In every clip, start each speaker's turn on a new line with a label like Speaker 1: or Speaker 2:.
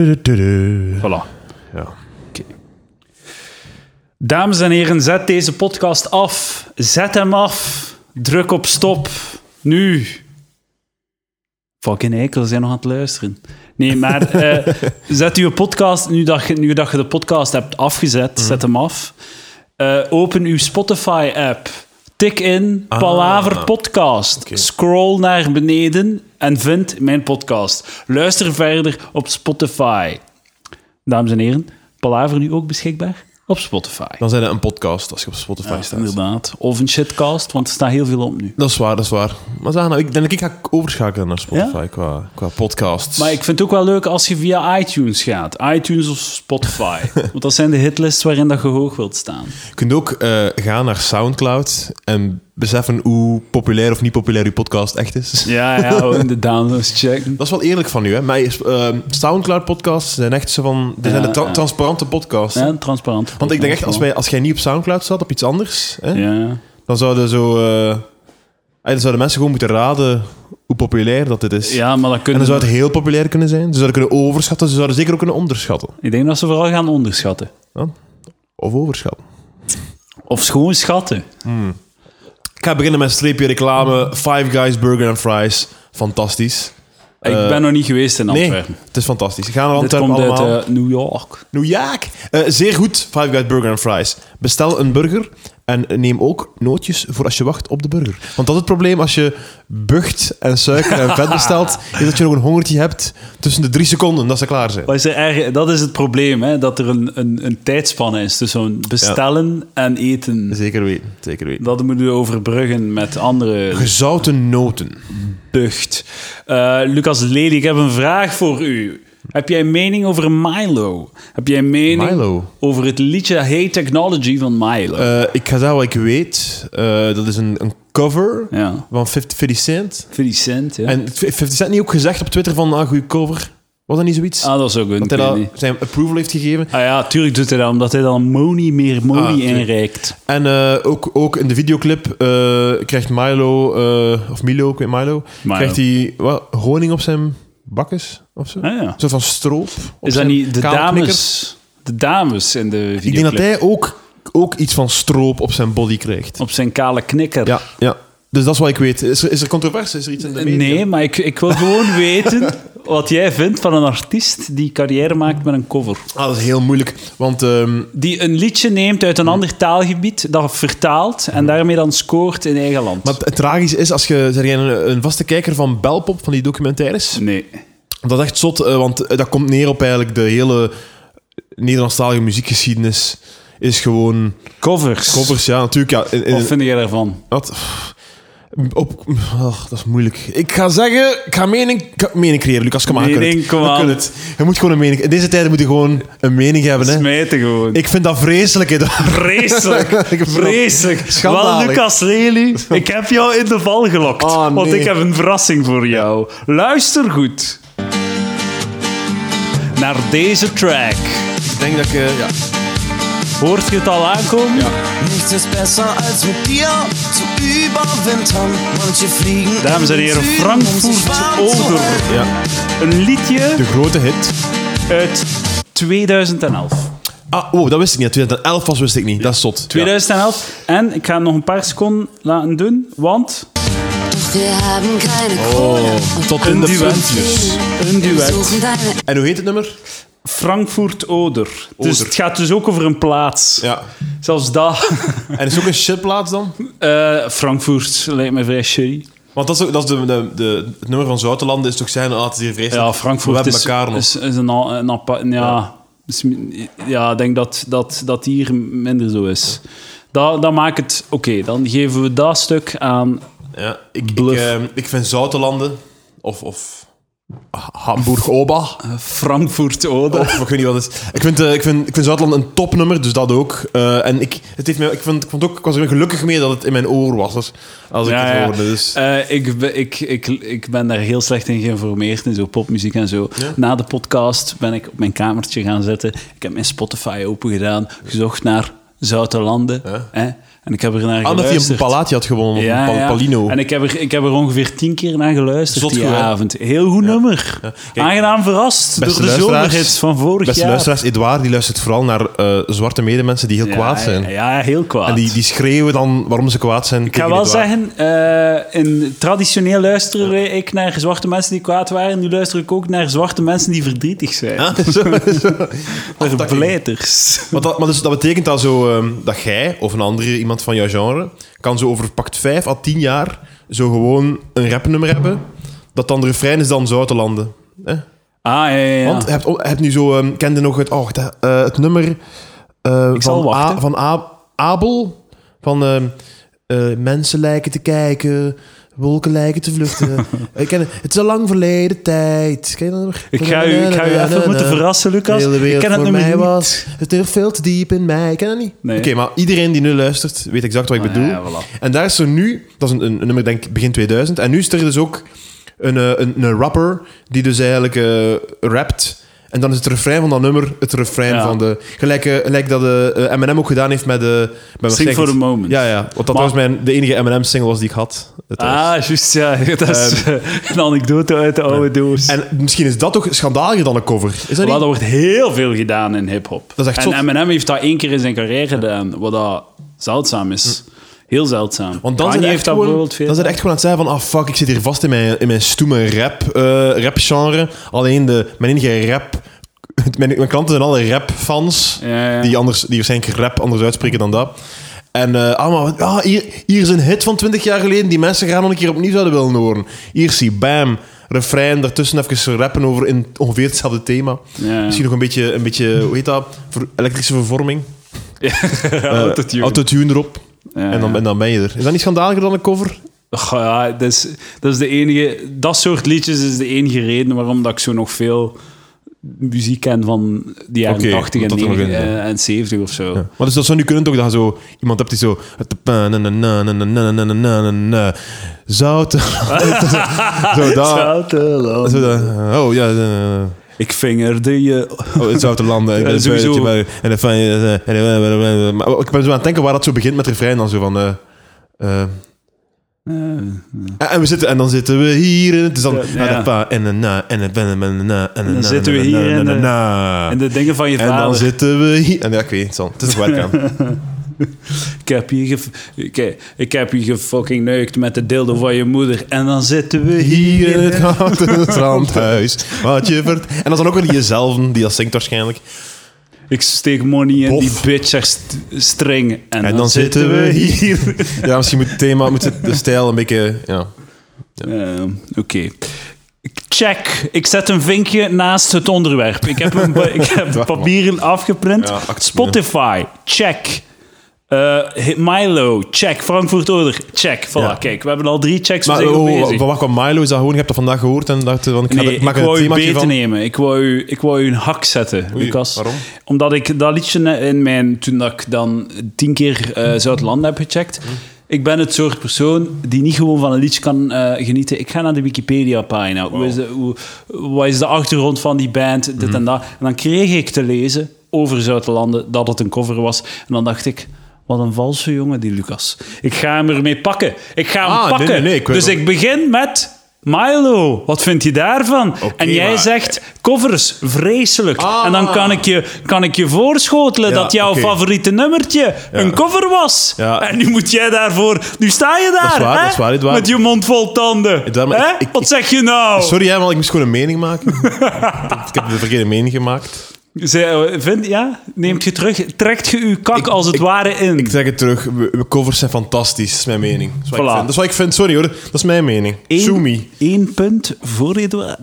Speaker 1: Tududududu.
Speaker 2: Voilà.
Speaker 1: Ja.
Speaker 2: Dames en heren, zet deze podcast af. Zet hem af. Druk op stop. Nu. Fucking eikels zijn nog aan het luisteren. Nee, maar eh, zet uw podcast, nu dat, je, nu dat je de podcast hebt afgezet, zet hem af. Eh, open uw Spotify-app. Tik in Palaver Podcast. Scroll naar beneden en vind mijn podcast. Luister verder op Spotify. Dames en heren, Palaver nu ook beschikbaar op Spotify.
Speaker 1: Dan zijn het een podcast als je op Spotify staat.
Speaker 2: Inderdaad. Of een shitcast, want er staat heel veel op nu.
Speaker 1: Dat is waar, dat is waar. Maar zeg nou, ik denk dat ik ga overschakelen naar Spotify qua, qua podcasts.
Speaker 2: Maar ik vind het ook wel leuk als je via iTunes gaat. iTunes of Spotify. Want dat zijn de hitlists waarin dat je hoog wilt staan.
Speaker 1: Je kunt ook eh, gaan naar Soundcloud en beseffen hoe populair of niet populair uw podcast echt is.
Speaker 2: Ja, ja, oh, in de downloads checken.
Speaker 1: Dat is wel eerlijk van u, hè? Maar eh, Soundcloud-podcasts zijn echt zo van... Dit zijn de tra-
Speaker 2: ja.
Speaker 1: transparante podcasts.
Speaker 2: Ja, een transparant.
Speaker 1: Want ik denk echt, als, wij, als jij niet op Soundcloud zat, op iets anders, hè,
Speaker 2: Ja.
Speaker 1: dan zouden zo... eh, eh, dan zouden mensen gewoon moeten raden hoe populair dat dit is.
Speaker 2: ja, maar dat
Speaker 1: En
Speaker 2: kunnen
Speaker 1: dan zou het heel populair kunnen zijn. Ze zouden kunnen overschatten, ze zouden zeker ook kunnen onderschatten.
Speaker 2: Ik denk dat ze vooral gaan onderschatten.
Speaker 1: Of overschatten.
Speaker 2: Of schoon schatten.
Speaker 1: Ik ga beginnen met een streepje reclame. Five Guys Burger and Fries. Fantastisch.
Speaker 2: ik ben nog niet geweest in
Speaker 1: Eh, Nee,
Speaker 2: Antwerpen.
Speaker 1: het is fantastisch. Ga naar
Speaker 2: Nou, Dit
Speaker 1: Antwerpen
Speaker 2: komt uit
Speaker 1: allemaal.
Speaker 2: eh, New York.
Speaker 1: Nou ja, eh, zeer goed. Five Guys Burger and Fries. Bestel een burger en neem ook nootjes voor als je wacht op de burger. Want dat is het probleem als je bucht en suiker en vet bestelt, is dat je nog een hongertje hebt tussen de drie seconden dat ze klaar zijn.
Speaker 2: Maar is er erg- dat is het probleem, hè? dat er een, een, een tijdspanne is tussen zo'n bestellen en eten.
Speaker 1: Zeker weten, zeker weten.
Speaker 2: Dat moeten we overbruggen met andere
Speaker 1: Gezouten noten.
Speaker 2: Bucht. Eh, Lucas Lely, ik heb een vraag voor u. Heb jij een mening over Milo? Heb jij een mening
Speaker 1: Milo?
Speaker 2: over het liedje Hey Technology van Milo?
Speaker 1: Eh, ik ga zeggen wat ik weet. Eh, dat is een, een cover
Speaker 2: ja,
Speaker 1: van 50, 50 Cent.
Speaker 2: Vincent. Ja.
Speaker 1: En 50 Cent niet ook gezegd op Twitter van, ah, goede cover. Was dat niet zoiets?
Speaker 2: ah, dat is ook een.
Speaker 1: dat hij
Speaker 2: Dat
Speaker 1: dat zijn approval heeft gegeven.
Speaker 2: Ah ja, tuurlijk doet hij dat, omdat hij dan money meer
Speaker 1: Ah,
Speaker 2: money
Speaker 1: tuurlijk.
Speaker 2: inreikt.
Speaker 1: En eh, ook, ook in de videoclip eh, krijgt Milo, eh, of Milo, ik weet Milo,
Speaker 2: Milo.
Speaker 1: krijgt hij wat, honing op zijn bakkes of zo?
Speaker 2: Ah, ja.
Speaker 1: Een soort van stroop. op
Speaker 2: Is dat
Speaker 1: zijn
Speaker 2: niet de
Speaker 1: kaalknikkers.
Speaker 2: dames, de dames in de videoclip?
Speaker 1: Ik
Speaker 2: Oh.
Speaker 1: denk dat hij ook, ook iets van stroop op zijn body krijgt.
Speaker 2: Op zijn kale knikker. Eh,
Speaker 1: Ja, ja. Dus dat is wat ik weet. Is er, is er controverse? Is er iets in de media?
Speaker 2: Nee, maar ik, ik wil gewoon weten wat jij vindt van een artiest die carrière maakt met een cover.
Speaker 1: Ah, dat is heel moeilijk, want ehm,
Speaker 2: die een liedje neemt uit een ander taalgebied, dat vertaalt en daarmee dan scoort in eigen land.
Speaker 1: maar het tragische is, als je, zeg jij een, een vaste kijker van Belpop, van die documentaires,
Speaker 2: nee.
Speaker 1: Dat is echt zot, eh, want eh, dat komt neer op eigenlijk de hele Nederlandstalige muziekgeschiedenis. Is gewoon
Speaker 2: Covers.
Speaker 1: covers, ja, natuurlijk. Ja, in- in-
Speaker 2: Wat vind jij daarvan?
Speaker 1: wat? Op, ach, dat is moeilijk. Ik ga zeggen, ik ga mening, ik ga mening creëren, Lucas. Kom aan, je kunt het.
Speaker 2: Mening, kom
Speaker 1: Je
Speaker 2: aan.
Speaker 1: kunt het. Je moet gewoon een mening... In deze tijden moet je gewoon een mening hebben, hè.
Speaker 2: Smijten gewoon.
Speaker 1: Ik vind dat vreselijk, hè.
Speaker 2: Vreselijk.
Speaker 1: Ik heb zo'n-
Speaker 2: Vreselijk.
Speaker 1: Schandalig.
Speaker 2: Wel, Lucas Lely, ik heb jou in de val gelokt.
Speaker 1: Ah,
Speaker 2: Want
Speaker 1: nee.
Speaker 2: ik heb een verrassing voor jou. Luister goed. Naar deze track.
Speaker 1: Ik denk dat ik... eh, ja.
Speaker 2: Hoort je het al aankomen?
Speaker 3: Nichts ist besser als mit dir zu überwintern. Manche fliegen.
Speaker 2: Dames en heren,
Speaker 3: in den Süden, um sich
Speaker 2: Frankfurt
Speaker 3: warm zu
Speaker 2: Oder.
Speaker 3: halten.
Speaker 1: ja.
Speaker 2: Een liedje
Speaker 1: De grote hit.
Speaker 2: uit 2011.
Speaker 1: Ah, oh, dat wist ik niet. 2011 was, wist ik niet. Dat is zot. Ja.
Speaker 2: 2011. En ik ga hem nog een paar seconden laten doen, want
Speaker 4: Doch wir haben keine Kohle. und
Speaker 1: tot in de
Speaker 4: unsere
Speaker 1: puntjes.
Speaker 4: Seele.
Speaker 2: een duet.
Speaker 4: Suchen deine
Speaker 1: En hoe heet het nummer?
Speaker 2: Frankfurt-Oder. Dus
Speaker 1: Oder.
Speaker 2: het gaat dus ook over een plaats.
Speaker 1: Ja.
Speaker 2: Zelfs dat.
Speaker 1: En is het ook een shitplaats dan?
Speaker 2: Eh, Frankfurt lijkt me vrij shitty.
Speaker 1: Want dat is, ook, dat is de, de, de, het nummer van Zoutenlanden is toch zijn, ah, het is hier vreselijk.
Speaker 2: Ja,
Speaker 1: We
Speaker 2: Frankfurt
Speaker 1: hebben
Speaker 2: is,
Speaker 1: elkaar nog.
Speaker 2: is, is een, a- een apart... Ja, Is- ja, ik denk dat, dat dat hier minder zo is. Dat, dat maakt het... Oké, dan geven we dat stuk aan...
Speaker 1: ja, ik, ik,
Speaker 2: Bluff.
Speaker 1: ehm, ik vind Zoutenlanden of, of Hamburg-Oba,
Speaker 2: Frankfurt-Oder.
Speaker 1: of ik weet niet wat het is. Ik vind, eh, ik vind, ik vind Zoutenlanden een topnummer, dus dat ook. Eh, en ik, het heeft mij, ik, vind, ik, vond ook, ik was er gelukkig mee dat het in mijn oor was, als, als
Speaker 2: Ja,
Speaker 1: ik het
Speaker 2: ja.
Speaker 1: hoorde. Dus.
Speaker 2: Eh, ik, be- ik, ik, ik ben daar heel slecht in geïnformeerd, in zo popmuziek en zo. Na de podcast ben ik op mijn kamertje gaan zitten. Ik heb mijn Spotify open gedaan, gezocht naar zoute landen. Hè? En ik heb er naar
Speaker 1: Aan Ah, dat hij een
Speaker 2: geluisterd.
Speaker 1: Palati had gewonnen, of een Pal- Palino.
Speaker 2: En ik heb, er, ik heb er ongeveer tien keer naar geluisterd
Speaker 1: Zot
Speaker 2: die
Speaker 1: goed, hè?
Speaker 2: avond. Heel goed nummer. Aangenaam verrast
Speaker 1: Beste
Speaker 2: door de
Speaker 1: luisteraars,
Speaker 2: zomerhits van vorig
Speaker 1: Beste
Speaker 2: jaar.
Speaker 1: luisteraars, Edouard die luistert vooral naar eh, zwarte medemensen die heel
Speaker 2: Ja,
Speaker 1: kwaad zijn.
Speaker 2: Ja, ja, heel kwaad.
Speaker 1: En die, die schreeuwen dan waarom ze kwaad zijn.
Speaker 2: Ik ga wel zeggen, eh, in, traditioneel luisterde ik naar zwarte mensen die kwaad waren. Nu luister ik ook naar zwarte mensen die verdrietig zijn.
Speaker 1: Ah,
Speaker 2: Naar Verblijders.
Speaker 1: Maar, dat, maar dus, dat betekent dat, zo, ehm, dat jij of een andere iemand van jouw genre kan zo over pakt 5 à 10 jaar zo gewoon een rapnummer hebben. Dat dan de refrein is dan Zoute Landen. hè?
Speaker 2: Ah, ja, ja, ja.
Speaker 1: Want je hebt, je hebt nu zo, ehm, kende nog het, oh, dat, eh, het nummer eh,
Speaker 2: zal
Speaker 1: van,
Speaker 2: wachten.
Speaker 1: A- van A- Abel. Van ehm, eh, mensen lijken te kijken, wolken lijken te vluchten. ik ken, het Het is al lang verleden tijd. Ken je dat nummer?
Speaker 2: ik ga u, ik ga u even moeten verrassen, Lucas.
Speaker 1: De hele
Speaker 2: Ik
Speaker 1: wereld
Speaker 2: ken het
Speaker 1: voor mij
Speaker 2: nummer niet.
Speaker 1: was. Het is veel te diep in mij. Ik ken het niet.
Speaker 2: Nee.
Speaker 1: Oké, maar iedereen die nu luistert, weet exact wat ik
Speaker 2: Ah,
Speaker 1: bedoel.
Speaker 2: ja, voilà.
Speaker 1: En daar is er nu, dat is een, een, een nummer denk ik begin 2000. En nu is er dus ook een, eh, een, een rapper die dus eigenlijk eh, rapt. En dan is het refrein van dat nummer het refrein
Speaker 2: Ja.
Speaker 1: van de... Gelijk, eh, gelijk dat de Eminem ook gedaan heeft met... de met
Speaker 2: Sing for the Moment.
Speaker 1: Ja, ja. Want dat
Speaker 2: Maar-
Speaker 1: was mijn, de enige Eminem-single was die ik had. Het was-
Speaker 2: Ah, juist, ja. Dat is eh, een anekdote uit de oude doos.
Speaker 1: Ehm. En misschien is dat toch schandaliger dan een cover. Is dat
Speaker 2: Wel,
Speaker 1: niet?
Speaker 2: dat wordt heel veel gedaan in hip-hop.
Speaker 1: Dat is echt
Speaker 2: En
Speaker 1: zot.
Speaker 2: Eminem heeft dat één keer in zijn carrière gedaan, wat dat zeldzaam is. Heel zeldzaam.
Speaker 1: Hm. Want dan
Speaker 2: Kanye
Speaker 1: zijn echt
Speaker 2: heeft dat
Speaker 1: gewoon,
Speaker 2: bijvoorbeeld veel.
Speaker 1: Dan zijn echt gewoon aan het zeggen van, ah fuck, ik zit hier vast in mijn, in mijn stoeme rap, eh, rapgenre. Alleen de, mijn enige rap... Mijn, mijn klanten zijn alle rapfans,
Speaker 2: Ja, ja.
Speaker 1: die, anders, die waarschijnlijk rap anders uitspreken dan dat. En eh, ah, maar, ah, hier, hier is een hit van 20 jaar geleden die mensen graag nog een keer opnieuw zouden willen horen. Hier zie bam, refrein, daartussen even rappen over in ongeveer hetzelfde thema.
Speaker 2: Ja.
Speaker 1: Misschien nog een beetje, een beetje hoe heet dat, Ver- elektrische vervorming. Eh,
Speaker 2: Ja, autotune.
Speaker 1: Autotune erop.
Speaker 2: Ja,
Speaker 1: en, dan,
Speaker 2: ja.
Speaker 1: en dan ben je er. Is dat niet schandaliger dan een cover?
Speaker 2: Goh, ja, dat is, dat is de enige... Dat soort liedjes is de enige reden waarom dat ik zo nog veel muziek ken van de jaren
Speaker 1: Oké,
Speaker 2: 80 en,
Speaker 1: dat er nog
Speaker 2: 90
Speaker 1: in, ja.
Speaker 2: en 70 of zo.
Speaker 1: Maar dus dat zou nu kunnen toch dat je zo iemand hebt die zo. Zout. Zo dat.
Speaker 2: Zouteland.
Speaker 1: Zo dat. Oh ja. eh,
Speaker 2: Ik vingerde je...
Speaker 1: Oh, het zoute landen. Ik ben
Speaker 2: Ja,
Speaker 1: een
Speaker 2: sowieso.
Speaker 1: vuiltje bij- en dan van je- en eh, dan- Maar Ik ben zo aan het denken waar dat zo begint met het refrein dan zo van. eh, eh, en, en we zitten, en dan zitten we hier. En het is dan.
Speaker 2: Eh, Ja, ja.
Speaker 1: en dan- en dan- en dan- en dan- en dan
Speaker 2: zitten we hier in de- En de dingen van je
Speaker 1: En
Speaker 2: vader.
Speaker 1: dan zitten we hier. En ja, ik weet het, Sam. het is werk aan.
Speaker 2: Ik heb je ge... Ik, ik heb je gefucking neukt met de dildo van je moeder. En dan zitten we
Speaker 1: Hier
Speaker 2: hier
Speaker 1: in het houten strandhuis. Wat je vert... En dat is dan ook weer jezelf die dat zingt waarschijnlijk.
Speaker 2: Ik steek money in
Speaker 1: Bof.
Speaker 2: die bitch haar st- string. En,
Speaker 1: En dan, zitten we hier. Ja, misschien moet het thema, moet het- de stijl een beetje... Ja.
Speaker 2: Eh, Oké. Check. Ik zet een vinkje naast het onderwerp. Ik heb, een, pa- ik heb papieren afgeprint.
Speaker 1: Ja, act-
Speaker 2: Spotify. Check. Eh, Milo. Check. Frankfurt Oder. Check. Voilà.
Speaker 1: Ja.
Speaker 2: Kijk, we hebben al drie checks.
Speaker 1: Maar
Speaker 2: we zijn goed
Speaker 1: oh,
Speaker 2: bezig.
Speaker 1: van waar kwam Milo? Is dat gewoon, je hebt dat vandaag gehoord en dacht, van, ik, ga er-
Speaker 2: Nee,
Speaker 1: ik
Speaker 2: ik,
Speaker 1: maak er een
Speaker 2: wou u
Speaker 1: themaatje
Speaker 2: beter
Speaker 1: van.
Speaker 2: nemen. Ik wou, u, ik wou u een hak zetten,
Speaker 1: Oei,
Speaker 2: Lucas.
Speaker 1: waarom?
Speaker 2: Omdat ik dat liedje in mijn... Toen dat ik dan tien keer eh Zuid-Landen heb gecheckt...
Speaker 1: Hm.
Speaker 2: Ik ben het soort persoon die niet gewoon van een liedje kan eh, genieten. Ik ga naar de Wikipedia-pagina. Hoe is de- hoe- Wat is de achtergrond van die band? Dit
Speaker 1: Hm.
Speaker 2: en dat. En dan kreeg ik te lezen over Zuid-Landen dat het een cover was. En dan dacht ik... Wat een valse jongen, die Lucas. Ik ga hem ermee pakken. Ik ga hem
Speaker 1: Ah, nee,
Speaker 2: pakken.
Speaker 1: nee, nee, ik weet
Speaker 2: dus
Speaker 1: nog-
Speaker 2: ik begin met Milo. Wat vind je daarvan?
Speaker 1: Oké,
Speaker 2: en jij
Speaker 1: maar-
Speaker 2: zegt covers, vreselijk.
Speaker 1: Ah.
Speaker 2: En dan kan ik je, kan ik je voorschotelen
Speaker 1: Ja,
Speaker 2: dat jouw
Speaker 1: oké.
Speaker 2: favoriete nummertje een cover was.
Speaker 1: Ja.
Speaker 2: En nu moet jij daarvoor. Nu sta je daar.
Speaker 1: is waar,
Speaker 2: hè?
Speaker 1: dat is waar, dit waar.
Speaker 2: Met je mond vol tanden.
Speaker 1: Ja, maar
Speaker 2: Hè?
Speaker 1: ik- ik-
Speaker 2: Wat zeg je nou?
Speaker 1: Sorry, hè, maar ik moest gewoon een mening maken. ik heb de verkeerde mening gemaakt.
Speaker 2: Zij- eh, vind, ja? Neemt je terug? Trekt je uw kak als het ware in?
Speaker 1: Ik zeg het terug, we, we covers zijn fantastisch. Dat is mijn mening. Dat is, wat ik
Speaker 2: Voilà.
Speaker 1: vind. Dat is wat ik vind, sorry hoor. Dat is mijn mening.
Speaker 2: Eén-
Speaker 1: Sue me.
Speaker 2: één punt voor Edouard.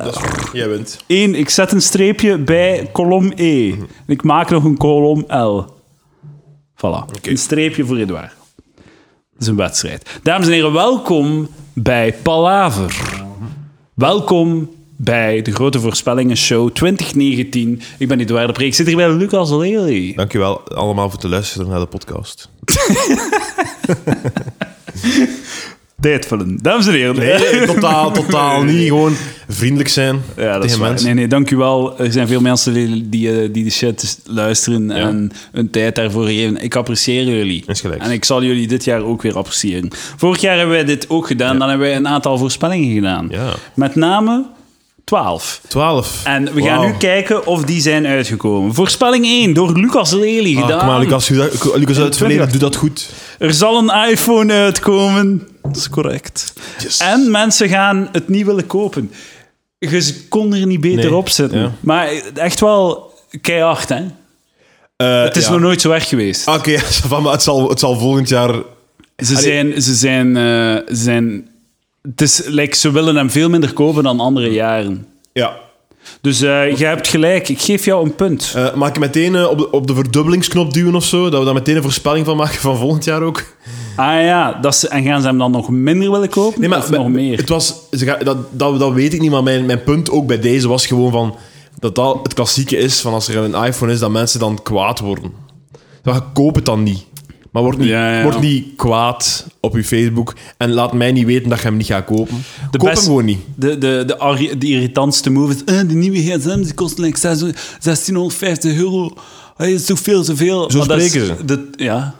Speaker 1: Jij bent.
Speaker 2: Eén, ik zet een streepje bij kolom E. En ik maak nog een kolom L. Voilà. Een streepje voor Edouard. Dat is een wedstrijd. Dames en heren, welkom bij Palaver. Welkom bij de Grote Voorspellingen Show 2019. Ik ben Edouard de Preek. Ik zit hier bij Lucas Lely.
Speaker 1: Dankjewel allemaal voor het luisteren naar de podcast.
Speaker 2: Tijdvullen. Dames en heren.
Speaker 1: Nee, totaal, totaal niet. Gewoon vriendelijk zijn
Speaker 2: Ja, dat is
Speaker 1: tegen
Speaker 2: waar.
Speaker 1: mensen.
Speaker 2: Nee, nee, dank u wel. Er zijn veel mensen die, die, eh, die de shit luisteren en hun tijd daarvoor geven. Ik apprecieer jullie.
Speaker 1: Insgelijks.
Speaker 2: En ik zal jullie dit jaar ook weer appreciëren. Vorig jaar hebben wij dit ook gedaan. Dan hebben wij een aantal voorspellingen gedaan.
Speaker 1: Ja.
Speaker 2: Met name 12.
Speaker 1: 12.
Speaker 2: En we gaan
Speaker 1: Wauw.
Speaker 2: nu kijken of die zijn uitgekomen. Voorspelling 1 door Lucas Lely
Speaker 1: Ah,
Speaker 2: gedaan.
Speaker 1: kom maar, Lucas, doe dat- Lucas uit het verleden, doe dat goed.
Speaker 2: Er zal een iPhone uitkomen. Dat is correct.
Speaker 1: Yes.
Speaker 2: En mensen gaan het niet willen kopen. Je kon er niet beter
Speaker 1: Nee,
Speaker 2: op zitten.
Speaker 1: ja.
Speaker 2: Maar echt wel keihard, hè? Het is nog nooit zo erg geweest.
Speaker 1: Eh, Ah, Oké, ja, ça va, maar het zal, het zal volgend jaar...
Speaker 2: Ze zijn... Ze zijn, eh, ze zijn het is, like, ze willen hem veel minder kopen dan andere jaren.
Speaker 1: Ja.
Speaker 2: Dus eh je hebt gelijk. Ik geef jou een punt.
Speaker 1: Eh, mag ik meteen eh, op, de, op de verdubbelingsknop duwen of zo? Dat we daar meteen een voorspelling van maken van volgend jaar ook?
Speaker 2: Ah ja, dat ze, en gaan ze hem dan nog minder willen kopen?
Speaker 1: Nee, maar
Speaker 2: of nog
Speaker 1: maar-
Speaker 2: meer?
Speaker 1: Het was, ze ga- dat, dat, dat weet ik niet, maar mijn, mijn punt ook bij deze was gewoon van dat dat het klassieke is van als er een iPhone is, dat mensen dan kwaad worden. Dan koop het dan niet. Maar word niet,
Speaker 2: Ja, ja, ja.
Speaker 1: word niet kwaad op je Facebook en laat mij niet weten dat je hem niet gaat kopen.
Speaker 2: De
Speaker 1: Koop
Speaker 2: best-
Speaker 1: hem gewoon niet.
Speaker 2: De, de, de, arri- de irritantste move is... eh, de nieuwe gsm die kost like 6 1650 euro. Hij is zoveel, zoveel.
Speaker 1: Zo
Speaker 2: Maar dat
Speaker 1: spreken
Speaker 2: is
Speaker 1: ze.
Speaker 2: De, ja.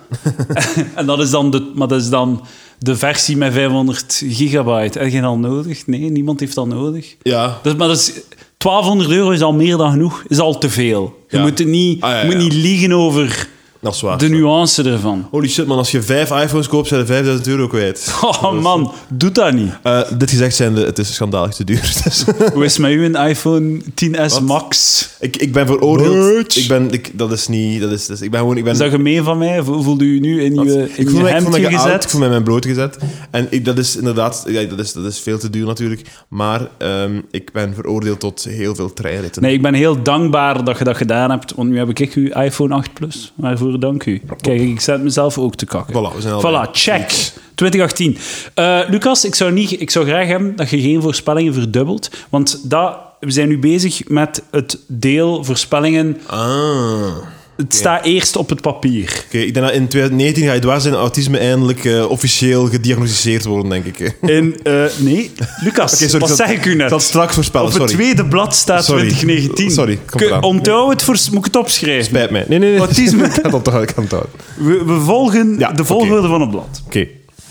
Speaker 2: en dat is, dan de, maar dat is dan de versie met 500 gigabyte. Heb je dat nodig? Nee, niemand heeft dat nodig.
Speaker 1: Ja.
Speaker 2: Dat, maar dat is, 1200 euro is al meer dan genoeg. Is al te veel. Je
Speaker 1: Ja.
Speaker 2: moet, er niet,
Speaker 1: Ah, ja,
Speaker 2: je moet
Speaker 1: ja.
Speaker 2: niet liegen over
Speaker 1: Dat is waar.
Speaker 2: de nuance ervan.
Speaker 1: Holy shit, man. Als je vijf iPhones koopt, zijn er 5000 euro kwijt.
Speaker 2: Oh man, doe dat niet.
Speaker 1: Eh, dit gezegd zijnde, het is schandalig te duur. Dus
Speaker 2: Hoe is met u een iPhone 10s Max?
Speaker 1: ik, ik ben veroordeeld.
Speaker 2: Bitch.
Speaker 1: Ik ben, ik, dat is niet... Dat is, dat is- ik ben gewoon... Ik ben,
Speaker 2: Is dat gemeen van mij? Vo- Voelde u nu in je, in
Speaker 1: ik voel
Speaker 2: je
Speaker 1: me, ik voel me
Speaker 2: hemdje
Speaker 1: geout,
Speaker 2: gezet?
Speaker 1: ik voel me in mijn bloot gezet. En ik, dat is inderdaad, ja, dat, is, dat is veel te duur natuurlijk. Maar ehm, ik ben veroordeeld tot heel veel treinritten.
Speaker 2: Nee, ik ben heel dankbaar dat je dat gedaan hebt, want nu heb ik uw iPhone 8 Plus. Waarvoor dank u. Kijk, ik zet mezelf ook te kakken.
Speaker 1: Voilà, we zijn al bij.
Speaker 2: Voilà, check. 2018. Eh, Lucas, ik zou, niet, ik zou graag hebben dat je geen voorspellingen verdubbelt, want dat, we zijn nu bezig met het deel voorspellingen.
Speaker 1: Ah. Oké,
Speaker 2: Het staat eerst op het papier.
Speaker 1: ik denk dat in 2019 ga je dwars zijn autisme eindelijk eh, officieel gediagnosticeerd worden, denk ik. Oké,
Speaker 2: En, eh, nee, Lucas,
Speaker 1: sorry,
Speaker 2: wat
Speaker 1: zal-
Speaker 2: zeg ik u net?
Speaker 1: zal het straks voorspellen,
Speaker 2: Op het
Speaker 1: sorry.
Speaker 2: tweede blad staat
Speaker 1: Sorry.
Speaker 2: 2019.
Speaker 1: Sorry, kom
Speaker 2: Kun-
Speaker 1: eraan.
Speaker 2: Onthoud het, voor, moet ik het opschrijven?
Speaker 1: Spijt mij. Nee, nee, nee.
Speaker 2: Autisme.
Speaker 1: ik kan het onthouden, ik kan het onthouden.
Speaker 2: We, we volgen
Speaker 1: Ja,
Speaker 2: de volgorde van het blad.
Speaker 1: Oké.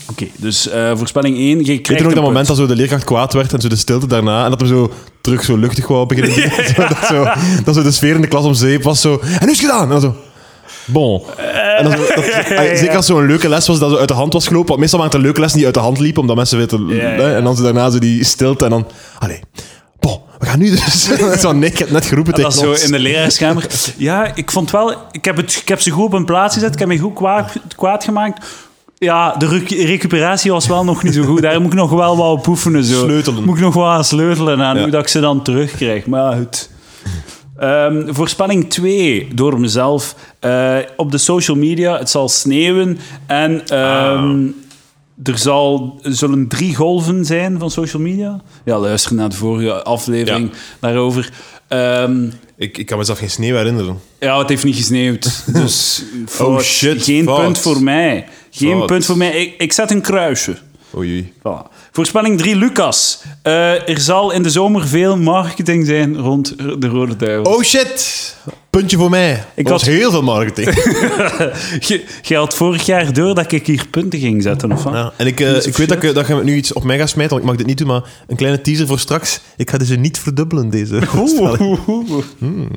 Speaker 2: Oké, dus eh, voorspelling 1, je krijgt
Speaker 1: Weet je nog
Speaker 2: een
Speaker 1: dat moment
Speaker 2: punt.
Speaker 1: dat zo de leerkracht kwaad werd en zo de stilte daarna en dat hem zo terug zo luchtig wou beginnen? Zo, dat, zo, dat zo de sfeer in de klas om zeep was zo. En nu is het gedaan! En dan zo. Bon. En dan zo, dat, eh, Zeker als zo'n leuke les was dat zo uit de hand was gelopen. Want meestal maakt een leuke les niet uit de hand liep, omdat mensen weten.
Speaker 2: Ja, ja.
Speaker 1: hè, En dan zo daarna zo die stilte en dan. Allee. Bon, we gaan nu dus. zo, nee, ik heb net geroepen tegen
Speaker 2: Dat zo
Speaker 1: ons.
Speaker 2: in de leraarskamer. Ja, ik vond wel... Ik heb, het, ik heb ze goed op een plaats gezet. Ik heb me goed kwaad, kwaad gemaakt. Ja, de recu- recuperatie was wel nog niet zo goed. Daar moet ik nog wel wat op oefenen. Zo.
Speaker 1: Sleutelen.
Speaker 2: Moet ik nog wel aan sleutelen aan
Speaker 1: Ja.
Speaker 2: hoe dat ik ze dan terugkrijg. Maar ja, goed. Ehm, voorspelling 2, door mezelf. Eh, op de social media, het zal sneeuwen. En
Speaker 1: Ah.
Speaker 2: ehm, er zal, er zullen drie golven zijn van social media. Ja, luister naar de vorige aflevering daarover. Ehm,
Speaker 1: Ik, ik kan mezelf geen sneeuw herinneren.
Speaker 2: ja, het heeft niet gesneeuwd. Dus fout.
Speaker 1: Oh, shit,
Speaker 2: geen
Speaker 1: fout.
Speaker 2: punt voor mij. Geen
Speaker 1: Fout.
Speaker 2: punt voor mij. Ik, ik zet een kruisje.
Speaker 1: Oei, oei.
Speaker 2: Voilà. Voorspelling 3, Lucas. Eh, er zal in de zomer veel marketing zijn rond de Rode Duivel.
Speaker 1: Oh shit! Puntje voor mij. Ik
Speaker 2: had-
Speaker 1: was heel veel marketing.
Speaker 2: Je, je had vorig jaar door dat ik hier punten ging zetten, of wat?
Speaker 1: Ja, en ik, eh,
Speaker 2: Dus
Speaker 1: ik weet dat, ik, dat je nu iets op mij gaat smijten, want ik mag dit niet doen, maar een kleine teaser voor straks. Ik ga deze niet verdubbelen, deze voorstelling.
Speaker 2: Oeh, oeh, oeh. Hmm.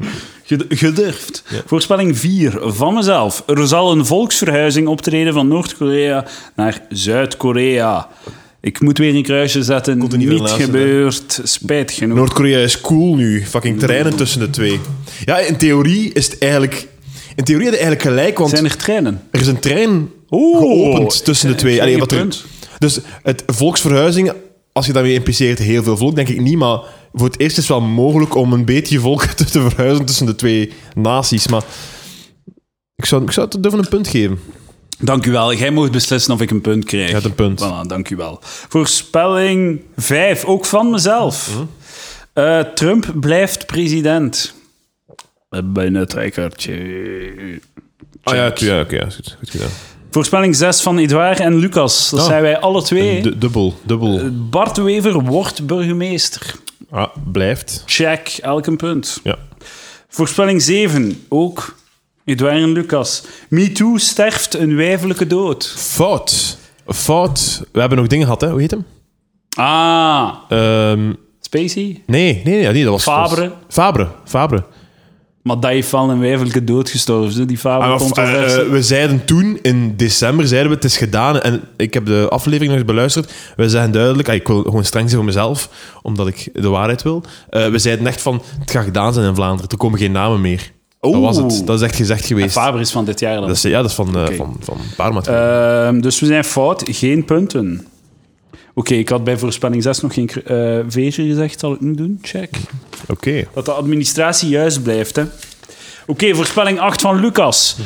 Speaker 2: Ged- Gedurfd. Voorspelling 4 van mezelf. Er zal een volksverhuizing optreden van Noord-Korea naar Zuid-Korea. Ik moet weer een kruisje zetten.
Speaker 1: er niet
Speaker 2: niet
Speaker 1: van laatste, hè?
Speaker 2: gebeurd. Spijt genoeg.
Speaker 1: Noord-Korea is cool nu. Fucking treinen tussen de twee. Ja, in theorie is het eigenlijk... In theorie had je eigenlijk gelijk, want
Speaker 2: Zijn Oh. er treinen?
Speaker 1: er is een trein
Speaker 2: Oeh.
Speaker 1: geopend tussen de twee.
Speaker 2: Geen
Speaker 1: Allee, wat er-
Speaker 2: punt.
Speaker 1: Dus het volksverhuizing, als je daarmee impliceert heel veel volk, denk ik niet, maar voor het eerst is het wel mogelijk om een beetje volk te verhuizen tussen de twee naties, maar... Ik zou, ik zou het durven een punt geven.
Speaker 2: Dank u wel. Jij mocht beslissen of ik een punt krijg.
Speaker 1: Je hebt een punt.
Speaker 2: Voilà, dank u wel. Voorspelling 5, ook van mezelf.
Speaker 1: Mhm.
Speaker 2: Eh, Trump blijft president. Bijna trekkertje.
Speaker 1: Ah ja, tu- ja oké, ja, is goed, goed gedaan.
Speaker 2: Voorspelling 6 van Edouard en Lucas. Dat
Speaker 1: Ah.
Speaker 2: zijn wij alle twee.
Speaker 1: Du- dubbel, dubbel.
Speaker 2: Bart Wever wordt burgemeester.
Speaker 1: Ah, blijft.
Speaker 2: Check, elk een punt.
Speaker 1: Ja.
Speaker 2: Voorspelling 7, ook Edouard en Lucas. MeToo sterft een wijfelijke dood.
Speaker 1: Fout. Fout. We hebben nog dingen gehad, hè? Hoe heet hem?
Speaker 2: Ah,
Speaker 1: Ehm,
Speaker 2: Spacey?
Speaker 1: nee, nee, nee, nee, dat was...
Speaker 2: Fabre.
Speaker 1: Fabre. Fabre.
Speaker 2: Maar dat heeft wel een wijfelijke dood gestorven, zo, die
Speaker 1: Ah, maar,
Speaker 2: fabel
Speaker 1: eh, eh, we zeiden toen, in december, zeiden we het is gedaan. En ik heb de aflevering nog eens beluisterd. We zeggen duidelijk, ah, ik wil gewoon streng zijn voor mezelf, omdat ik de waarheid wil. Eh, we zeiden echt van, het gaat gedaan zijn in Vlaanderen. Er komen geen namen meer. Dat was het. Dat is echt gezegd geweest.
Speaker 2: Faber is van dit jaar dan.
Speaker 1: Dat is, ja, dat is van, eh,
Speaker 2: Oké.
Speaker 1: van, van Parma.
Speaker 2: Ehm, dus we zijn fout, geen punten. Oké, ik had bij voorspelling 6 nog geen eh veertje gezegd, zal ik nu doen? Check.
Speaker 1: Oké.
Speaker 2: Dat de administratie juist blijft, hè. Oké, voorspelling 8 van Lucas.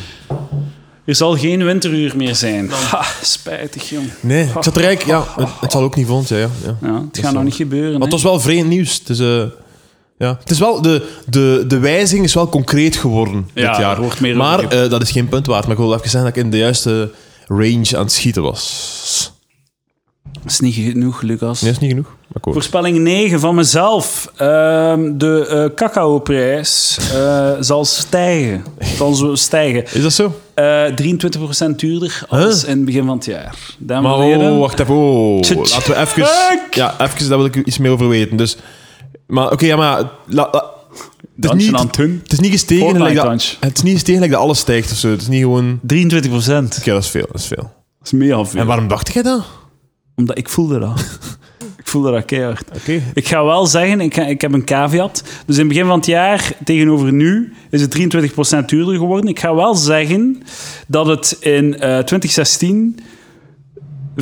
Speaker 2: Er zal geen winteruur meer zijn. Ha, spijtig, jong.
Speaker 1: Nee, ik zat er eigenlijk... Ja, het, het zal ook niet volgend zijn, ja. ja.
Speaker 2: Ja, het gaat nog
Speaker 1: wel-
Speaker 2: niet gebeuren.
Speaker 1: Maar het
Speaker 2: hè.
Speaker 1: was wel vreemd nieuws. Het is, eh, ja. het is wel, de, de, de wijziging is wel concreet geworden
Speaker 2: Ja,
Speaker 1: dit jaar.
Speaker 2: er wordt meer over
Speaker 1: maar
Speaker 2: gepraat.
Speaker 1: eh, dat is geen punt waard. Maar ik wil even zeggen dat ik in de juiste range aan het schieten was.
Speaker 2: Dat is niet genoeg, Lucas.
Speaker 1: Nee, is niet genoeg. Akkoord.
Speaker 2: Voorspelling 9 van mezelf. Ehm, de eh cacaoprijs eh, zal stijgen. Zal zo stijgen.
Speaker 1: Is dat zo?
Speaker 2: Eh 23% duurder als in het begin van het jaar. Dames
Speaker 1: Maar
Speaker 2: en
Speaker 1: oh,
Speaker 2: heren.
Speaker 1: wacht even. Oh,
Speaker 2: Tje, tje.
Speaker 1: laten we even...
Speaker 2: Fuck!
Speaker 1: Ja, even, daar wil ik iets meer over weten. Dus, maar oké, ja, maar... la- la- het, is
Speaker 2: Dansje
Speaker 1: niet,
Speaker 2: aan het doen.
Speaker 1: het is niet gestegen
Speaker 2: Fortnite
Speaker 1: gelijk dat,
Speaker 2: dansje.
Speaker 1: het is niet gestegen gelijk dat alles stijgt of zo. Het is niet gewoon...
Speaker 2: 23 procent.
Speaker 1: Oké, dat is veel, dat is veel.
Speaker 2: Dat is meer af.
Speaker 1: En waarom dacht jij dat?
Speaker 2: Omdat ik voelde dat. ik voelde dat keihard.
Speaker 1: Oké.
Speaker 2: Ik ga wel zeggen, ik, ga- ik heb een caveat. Dus in het begin van het jaar tegenover nu is het 23% duurder geworden. Ik ga wel zeggen dat het in eh, 2016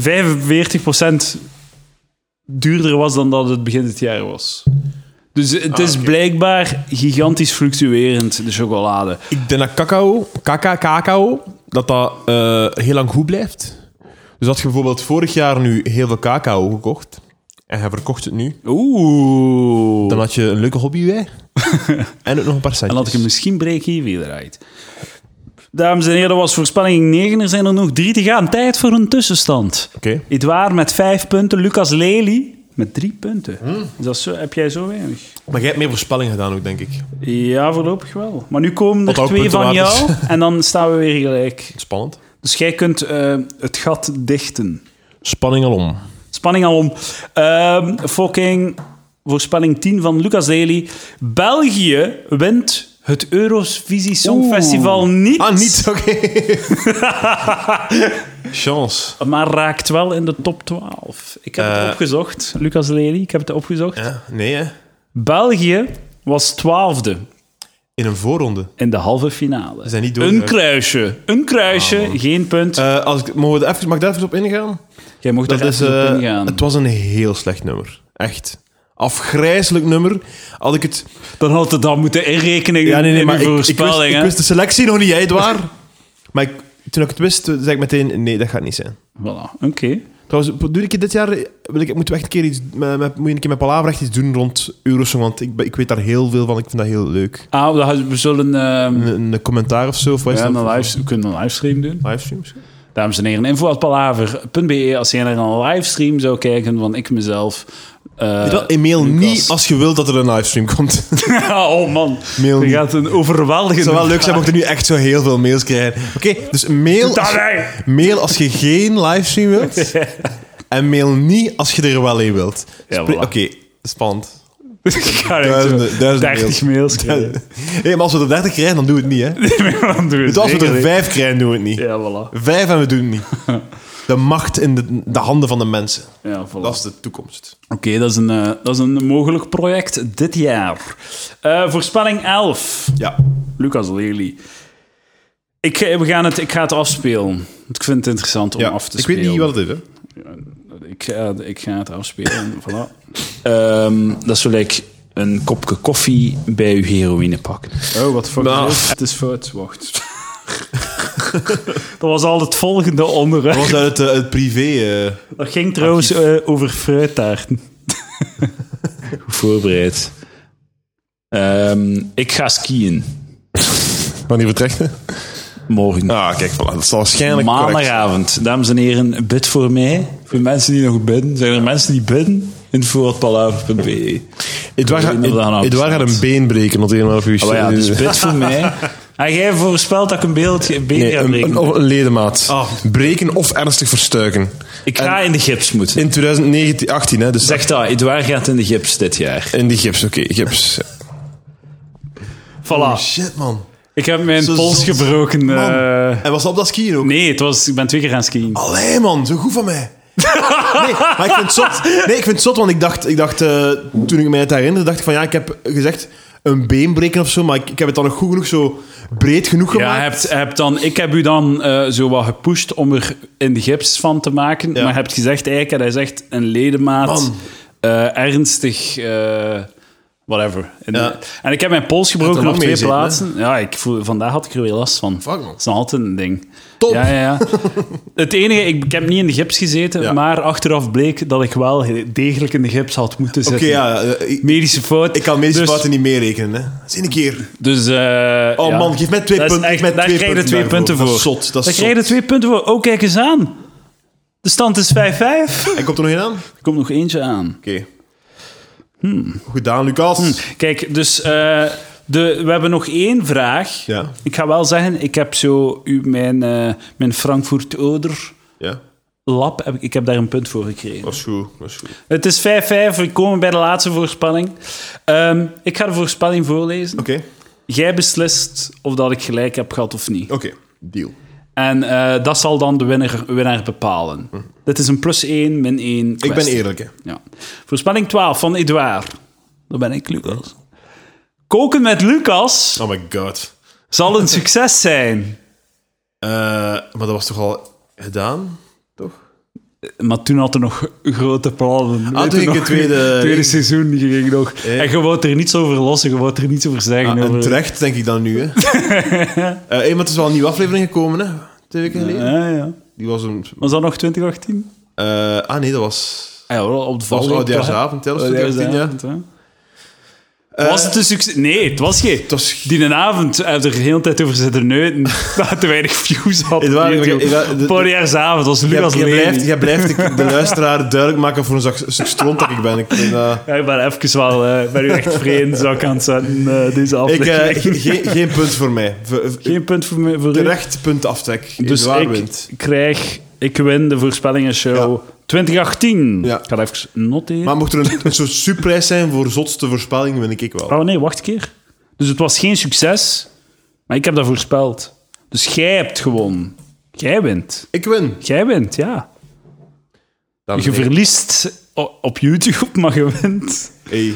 Speaker 2: 45% duurder was dan dat het begin dit jaar was. Dus het is blijkbaar gigantisch fluctuerend, de chocolade.
Speaker 1: Ik denk dat cacao, kaka, cacao, dat dat eh, heel lang goed blijft. Dus had je bijvoorbeeld vorig jaar nu heel veel cacao gekocht en je verkocht het nu,
Speaker 2: Oeh.
Speaker 1: dan had je een leuke hobby bij en ook nog een paar
Speaker 2: En
Speaker 1: centjes.
Speaker 2: had ik hem misschien break even eruit. Dames en heren, dat was voorspelling 9. Er zijn er nog drie te gaan. Tijd voor een tussenstand.
Speaker 1: Oké.
Speaker 2: Edouard met vijf punten. Lucas Lely met drie punten.
Speaker 1: Hm?
Speaker 2: Dus dat is zo, heb jij zo weinig?
Speaker 1: Maar jij hebt meer voorspellingen gedaan ook, denk ik.
Speaker 2: Ja, voorlopig wel. Maar nu komen
Speaker 1: Wat
Speaker 2: er
Speaker 1: ook
Speaker 2: twee van
Speaker 1: punten waard
Speaker 2: jou en dan staan we weer gelijk.
Speaker 1: Spannend.
Speaker 2: Dus jij kunt eh, het gat dichten.
Speaker 1: Spanning alom.
Speaker 2: Spanning al om. Ehm, fucking voorspelling 10 van Lucas Lely. België wint het Eurovisie Songfestival niet.
Speaker 1: Ah, niet? Oké. Chance.
Speaker 2: Maar raakt wel in de top 12. Ik heb
Speaker 1: Eh.
Speaker 2: het opgezocht, Lucas Lely. Ik heb het opgezocht.
Speaker 1: Ja, nee, hè.
Speaker 2: België was twaalfde
Speaker 1: In een voorronde.
Speaker 2: in de halve finale.
Speaker 1: zijn niet
Speaker 2: een
Speaker 1: doorgegaan.
Speaker 2: kruisje. Een kruisje, geen punt.
Speaker 1: Eh, als ik, mogen we er even, mag ik daar even op ingaan?
Speaker 2: Jij mocht
Speaker 1: Dat
Speaker 2: er
Speaker 1: is,
Speaker 2: even
Speaker 1: eh,
Speaker 2: op ingaan.
Speaker 1: het was een heel slecht nummer. Echt. Afgrijzelijk nummer. Had ik het...
Speaker 2: Dan had het dan moeten inrekenen
Speaker 1: Ja, nee, nee,
Speaker 2: in
Speaker 1: maar
Speaker 2: maar
Speaker 1: ik, ik, wist,
Speaker 2: voorspelling.
Speaker 1: ik
Speaker 2: hè.
Speaker 1: wist de selectie nog niet, jij het waar. maar ik- toen ik het wist, toen zei ik meteen, nee, dat gaat niet zijn.
Speaker 2: Voilà, oké.
Speaker 1: Trouwens, doe ik dit jaar, wil ik, moeten we echt een keer iets, met, met, moet je een keer met Palaver echt iets doen rond Eurosong, want ik, ben- ik weet daar heel veel van, ik vind dat heel leuk.
Speaker 2: Ah, we gaan- we zullen... ehm,
Speaker 1: Een, een commentaar of zo, of wat is
Speaker 2: ja,
Speaker 1: dat?
Speaker 2: een live, we kunnen een livestream doen.
Speaker 1: livestream misschien?
Speaker 2: Dames en heren, info.palaver.be als je naar een livestream zou kijken van ik mezelf. eh,
Speaker 1: Weet je wel, e-mail
Speaker 2: Lucas.
Speaker 1: niet als je wilt dat er een livestream komt. Het
Speaker 2: oh man,
Speaker 1: Mail
Speaker 2: er
Speaker 1: niet.
Speaker 2: gaat een overweldigende...
Speaker 1: zou wel leuk zijn mocht er nu echt zo heel veel mails krijgen. Oké, dus mail als, je-
Speaker 2: Allee!
Speaker 1: mail als je geen livestream wilt. En mail niet als je er wel in wilt.
Speaker 2: Ja,
Speaker 1: Spre-
Speaker 2: voilà.
Speaker 1: Oké, spannend.
Speaker 2: Ik ga echt zo
Speaker 1: Duizenden, duizenden
Speaker 2: 30 mails krijgen.
Speaker 1: Hé, maar als we er 30 krijgen, dan doen we het niet, hè?
Speaker 2: Dan doe je het
Speaker 1: Dus als we
Speaker 2: zeker
Speaker 1: er
Speaker 2: niet.
Speaker 1: 5 krijgen, doen we het niet.
Speaker 2: Ja, voilà.
Speaker 1: Vijf en we doen het niet. De macht in de, de handen van de mensen.
Speaker 2: Ja, voilà.
Speaker 1: Dat is de toekomst.
Speaker 2: Oké, dat, is een, eh, dat is een mogelijk project dit jaar. Eh, voorspelling 11.
Speaker 1: Ja.
Speaker 2: Lucas Lely. Ik, ga- we gaan het, ik ga het afspelen. Want Ik vind het interessant om
Speaker 1: ja.
Speaker 2: af te
Speaker 1: ik
Speaker 2: spelen.
Speaker 1: weet niet wat het is, hè?
Speaker 2: Ik ga, ik ga het afspelen. voilà. Ehm, dat is gelijk een kopje koffie bij uw heroïne pakken. Oh, wat voor
Speaker 1: Nou.
Speaker 2: Het is fout, wacht. dat was al het volgende onderwerp.
Speaker 1: Dat was uit het, eh, het privé. eh.
Speaker 2: Dat ging trouwens eh, over fruittaarten. Goed voorbereid. Ehm, ik ga skiën.
Speaker 1: Wanneer vertrekt hè?
Speaker 2: morgen.
Speaker 1: Ah, kijk, voilà, dat zal waarschijnlijk correct
Speaker 2: Maandagavond, dames en heren, bid voor mij. Voor mensen die nog bidden. Zijn er mensen die bidden? Infoatpalaver.be.
Speaker 1: Edouard,
Speaker 2: Ik weet niet of dat nou
Speaker 1: gaat- Edouard gaat een
Speaker 2: bestaat.
Speaker 1: been breken, want een of uw
Speaker 2: Oh ja, dus bid voor mij. En Ah, jij voorspelt dat ik een beeld een been
Speaker 1: Nee,
Speaker 2: ga
Speaker 1: Eh, een,
Speaker 2: breken.
Speaker 1: een, of een ledemaat.
Speaker 2: Ah.
Speaker 1: Breken of ernstig verstuiken.
Speaker 2: ik ga in de gips moeten.
Speaker 1: In 2019, 18, hè, dus
Speaker 2: Zeg dat, Edouard gaat in de gips dit jaar.
Speaker 1: in die gips, oké, gips.
Speaker 2: Voilà.
Speaker 1: Shit, man.
Speaker 2: Ik heb mijn
Speaker 1: Zo
Speaker 2: pols
Speaker 1: zot.
Speaker 2: gebroken.
Speaker 1: Man.
Speaker 2: eh.
Speaker 1: En was dat op dat skiën ook?
Speaker 2: nee, het was, ik ben twee keer gaan skiën.
Speaker 1: Allee, man, zo goed van mij. Nee, maar ik vind het zot. Nee, ik vind het zot, want ik dacht, ik dacht eh, toen ik mij het herinnerde, dacht ik van ja, ik heb gezegd een been breken of zo, maar ik, ik heb het dan nog goed genoeg zo breed genoeg
Speaker 2: Ja,
Speaker 1: gemaakt.
Speaker 2: hebt, hebt dan, ik heb u dan eh, zo wat gepusht om er in de gips van te maken.
Speaker 1: Ja.
Speaker 2: Maar hebt gezegd, eigenlijk had hij zegt een ledemaat,
Speaker 1: Man.
Speaker 2: eh, ernstig, eh, whatever. En,
Speaker 1: Ja.
Speaker 2: en ik heb mijn pols
Speaker 1: Had
Speaker 2: gebroken
Speaker 1: er
Speaker 2: op
Speaker 1: lang
Speaker 2: twee
Speaker 1: mee zitten,
Speaker 2: plaatsen. Ja, ik voel, vandaag had ik er weer last van.
Speaker 1: Fuck, man.
Speaker 2: Dat is nog altijd een ding.
Speaker 1: Top.
Speaker 2: Ja, ja, ja. Het enige, ik, ik heb niet in de gips gezeten,
Speaker 1: Ja.
Speaker 2: maar achteraf bleek dat ik wel degelijk in de gips had moeten
Speaker 1: Oké,
Speaker 2: zitten.
Speaker 1: ja, eh, ik,
Speaker 2: Medische fout.
Speaker 1: ik kan medische
Speaker 2: Dus-
Speaker 1: fouten niet meerekenen. hè. Dat is één keer.
Speaker 2: dus, eh,
Speaker 1: Oh
Speaker 2: ja.
Speaker 1: man, geef mij twee
Speaker 2: Dat is
Speaker 1: punten. geef
Speaker 2: echt-
Speaker 1: mij
Speaker 2: daar krijg je twee punten voor.
Speaker 1: Dat is zot. Dat
Speaker 2: Daar
Speaker 1: is
Speaker 2: krijg je
Speaker 1: zot.
Speaker 2: er twee punten voor. Oh, kijk eens aan. De stand is 5-5. Er
Speaker 1: En komt er nog één aan? Oké.
Speaker 2: komt nog eentje aan.
Speaker 1: Goed gedaan, Lucas.
Speaker 2: Kijk, dus eh, de, we hebben nog één vraag.
Speaker 1: Ja.
Speaker 2: Ik ga wel zeggen, ik heb zo u, mijn, eh, mijn Frankfurt-Oder
Speaker 1: Ja,
Speaker 2: lab, heb, ik- ik heb daar een punt voor gekregen.
Speaker 1: dat is goed. Dat is goed.
Speaker 2: Het is 5-5, we komen bij de laatste voorspelling. Ehm, ik ga de voorspelling voorlezen.
Speaker 1: Oké,
Speaker 2: Jij beslist of dat ik gelijk heb gehad of niet.
Speaker 1: oké. Deal.
Speaker 2: En eh, dat zal dan de winnaar, winnaar bepalen. Dit is een plus 1, min 1.
Speaker 1: Hm. Ik ben eerlijk, hè.
Speaker 2: Ja. Voorspelling 12 van Edouard. Dat ben ik, Lucas. Koken met Lucas
Speaker 1: Oh my god.
Speaker 2: zal een succes zijn.
Speaker 1: Eh, maar dat was toch al gedaan? Toch?
Speaker 2: Maar toen had er nog grote plannen. Weet je
Speaker 1: Ah, toen ging
Speaker 2: nog?
Speaker 1: het tweede-
Speaker 2: tweede seizoen. Je ging nog.
Speaker 1: Eh.
Speaker 2: En je wou er niets over lossen, je wou er niets over zeggen.
Speaker 1: Ah, en
Speaker 2: over-
Speaker 1: terecht, denk ik dan nu, hè. Eh, hey, maar het is wel een nieuwe aflevering gekomen, hè. Twee weken geleden.
Speaker 2: Ja, ja.
Speaker 1: Die was een...
Speaker 2: Was dat nog 2018?
Speaker 1: eh, ah nee, dat was...
Speaker 2: Ja, hoor, op de
Speaker 1: Dat was
Speaker 2: valreep,
Speaker 1: oudjaarsavond, hè. Dat was
Speaker 2: Oh,
Speaker 1: 2018, ja.
Speaker 2: avond, hè. Was het een succes? Nee, het was geen.
Speaker 1: Het Eh, was...
Speaker 2: Die een avond heb er de hele tijd over zitten neuten dat het te weinig views had. op
Speaker 1: Edouard,
Speaker 2: YouTube.
Speaker 1: Edouard, de- de-
Speaker 2: Voorjaarsavond was
Speaker 1: Jij,
Speaker 2: Lucas
Speaker 1: jij blijft,
Speaker 2: Lely.
Speaker 1: jij blijft de, de luisteraar duidelijk maken voor een zak, stuk stront dat ik ben. Ik vind, eh,
Speaker 2: Ja, ik ben even wel, eh ben u echt vreemd zou ik aan het zetten, eh, deze
Speaker 1: ik, eh,
Speaker 2: aflevering.
Speaker 1: ge- ge- geen punt voor mij. V- v-
Speaker 2: Geen punt voor, mij, voor u.
Speaker 1: terecht punt aftrek.
Speaker 2: Dus
Speaker 1: Edouard
Speaker 2: ik
Speaker 1: wint.
Speaker 2: krijg, ik win de voorspellingenshow 2018.
Speaker 1: Ja.
Speaker 2: Ik ga dat even noteren.
Speaker 1: Maar mocht er een, een soort surprijs zijn voor zotste voorspelling, win ik ik wel.
Speaker 2: Oh nee, wacht een keer. Dus het was geen succes, maar ik heb dat voorspeld. Dus jij hebt gewonnen. Jij wint.
Speaker 1: Ik win.
Speaker 2: Jij wint, ja.
Speaker 1: dames
Speaker 2: Je
Speaker 1: en heren.
Speaker 2: verliest o- op YouTube, maar je wint
Speaker 1: Hey.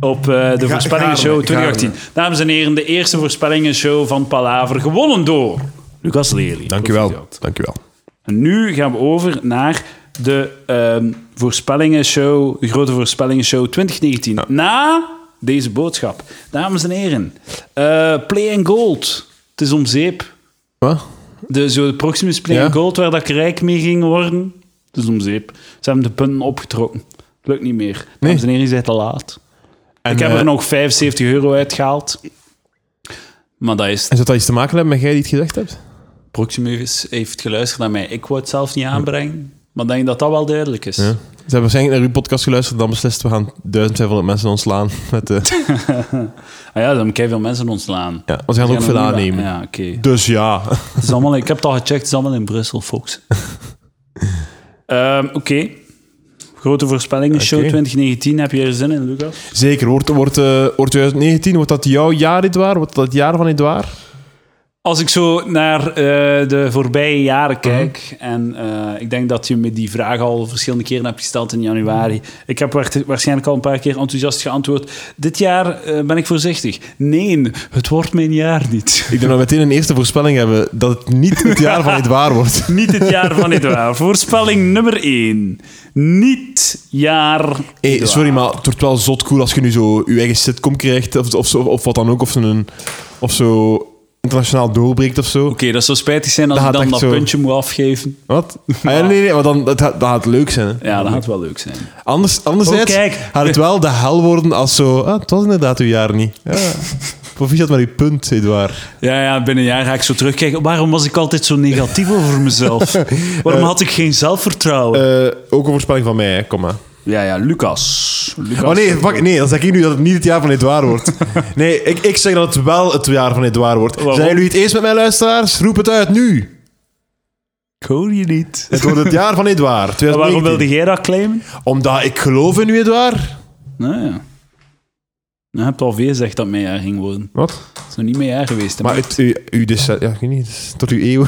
Speaker 2: op eh, de
Speaker 1: gaarne,
Speaker 2: voorspellingenshow 2018. Dames en heren, de eerste voorspellingenshow van Palaver, gewonnen door Lucas Lely.
Speaker 1: Dankjewel. Dankjewel.
Speaker 2: En nu gaan we over naar de ehm, voorspellingenshow, de grote voorspellingenshow 2019. Na deze boodschap. Dames en heren, eh, Play and Gold. Het is om zeep.
Speaker 1: Wat?
Speaker 2: De, zo, de Proximus Play
Speaker 1: Ja.
Speaker 2: and Gold, waar dat ik rijk mee ging worden. Het is om zeep. Ze hebben de punten opgetrokken. Het lukt niet meer. Dames en heren, je bent te laat.
Speaker 1: En,
Speaker 2: Ik heb
Speaker 1: eh,
Speaker 2: er nog 75 euro uitgehaald. Maar dat is
Speaker 1: En zou dat iets te maken hebben met jij die het gezegd hebt?
Speaker 2: Proximus heeft geluisterd naar mij. Ik wou het zelf niet aanbrengen, maar denk dat dat wel duidelijk is.
Speaker 1: Ze hebben waarschijnlijk naar uw podcast geluisterd en dan beslist we gaan 1500 mensen ontslaan. Met de...
Speaker 2: Ah ja, dan moet ik veel mensen ontslaan.
Speaker 1: ja, want ze gaan
Speaker 2: Die
Speaker 1: ook veel
Speaker 2: er niet
Speaker 1: aannemen.
Speaker 2: bij- Ja, oké.
Speaker 1: Dus ja.
Speaker 2: Het is allemaal- Ik heb het al gecheckt, het is allemaal in Brussel, folks. Ehm, oké. Grote voorspellingen, show
Speaker 1: Oké.
Speaker 2: 2019. Heb je er zin in, Lucas?
Speaker 1: Zeker. Wordt, wordt, eh, wordt 2019, wordt dat jouw jaar, Edouard? Wordt dat het jaar van Edouard?
Speaker 2: Als ik zo naar eh, de voorbije
Speaker 1: Mhm.
Speaker 2: jaren kijk, en eh, ik denk dat je me die vraag al verschillende keren hebt gesteld in januari. Ik heb waart- waarschijnlijk al een paar keer enthousiast geantwoord. Dit jaar eh, ben ik voorzichtig. Nee, het wordt mijn jaar niet.
Speaker 1: Ik denk dat we meteen een eerste voorspelling hebben dat het niet het jaar van Edouard wordt.
Speaker 2: Niet het jaar van Edouard. Voorspelling nummer 1. Niet jaar.
Speaker 1: Hey,
Speaker 2: Edouard.
Speaker 1: Eh, sorry, maar het wordt wel zot cool als je nu zo je eigen sitcom krijgt of, of, zo, of wat dan ook. Of, zo een, of zo internationaal doorbreekt of zo.
Speaker 2: Oké, dat zou spijtig zijn als
Speaker 1: Dat
Speaker 2: ik
Speaker 1: gaat
Speaker 2: dan dat
Speaker 1: echt zo-
Speaker 2: puntje moet afgeven.
Speaker 1: Wat? Ah, ja, nee, nee, maar dan, dat, gaat- dat gaat leuk zijn. Hè.
Speaker 2: Ja, dat gaat wel leuk zijn.
Speaker 1: Anders, anderzijds
Speaker 2: Oh, kijk.
Speaker 1: gaat het wel de hel worden als zo... Ah, het was inderdaad uw jaar niet. Ja. Proficiat met uw punt, Edouard.
Speaker 2: Ja, ja, binnen een jaar ga ik zo terugkijken. Waarom was ik altijd zo negatief over mezelf? Waarom had ik geen zelfvertrouwen?
Speaker 1: Eh, ook een voorspelling van mij, hè. kom maar.
Speaker 2: ja, ja, Lucas. Lucas.
Speaker 1: Oh nee, fuck, nee, dan zeg ik nu dat het niet het jaar van Edouard wordt. Nee, ik, ik zeg dat het wel het jaar van Edouard wordt.
Speaker 2: Waarom?
Speaker 1: Zijn jullie het eens met mijn luisteraars? Roep het uit nu.
Speaker 2: Ik hoor je niet.
Speaker 1: Het wordt het jaar van Edouard. 2019.
Speaker 2: Eh, waarom wilde jij dat claimen?
Speaker 1: Omdat ik geloof in u, Edouard.
Speaker 2: Nou ja. Nou, je hebt al veel gezegd dat het mijn jaar ging worden.
Speaker 1: Wat?
Speaker 2: Het is nog niet mijn jaar geweest. hè,
Speaker 1: Maar
Speaker 2: Bart.
Speaker 1: het, u, u dus, ja, ik weet niet, tot uw eeuw.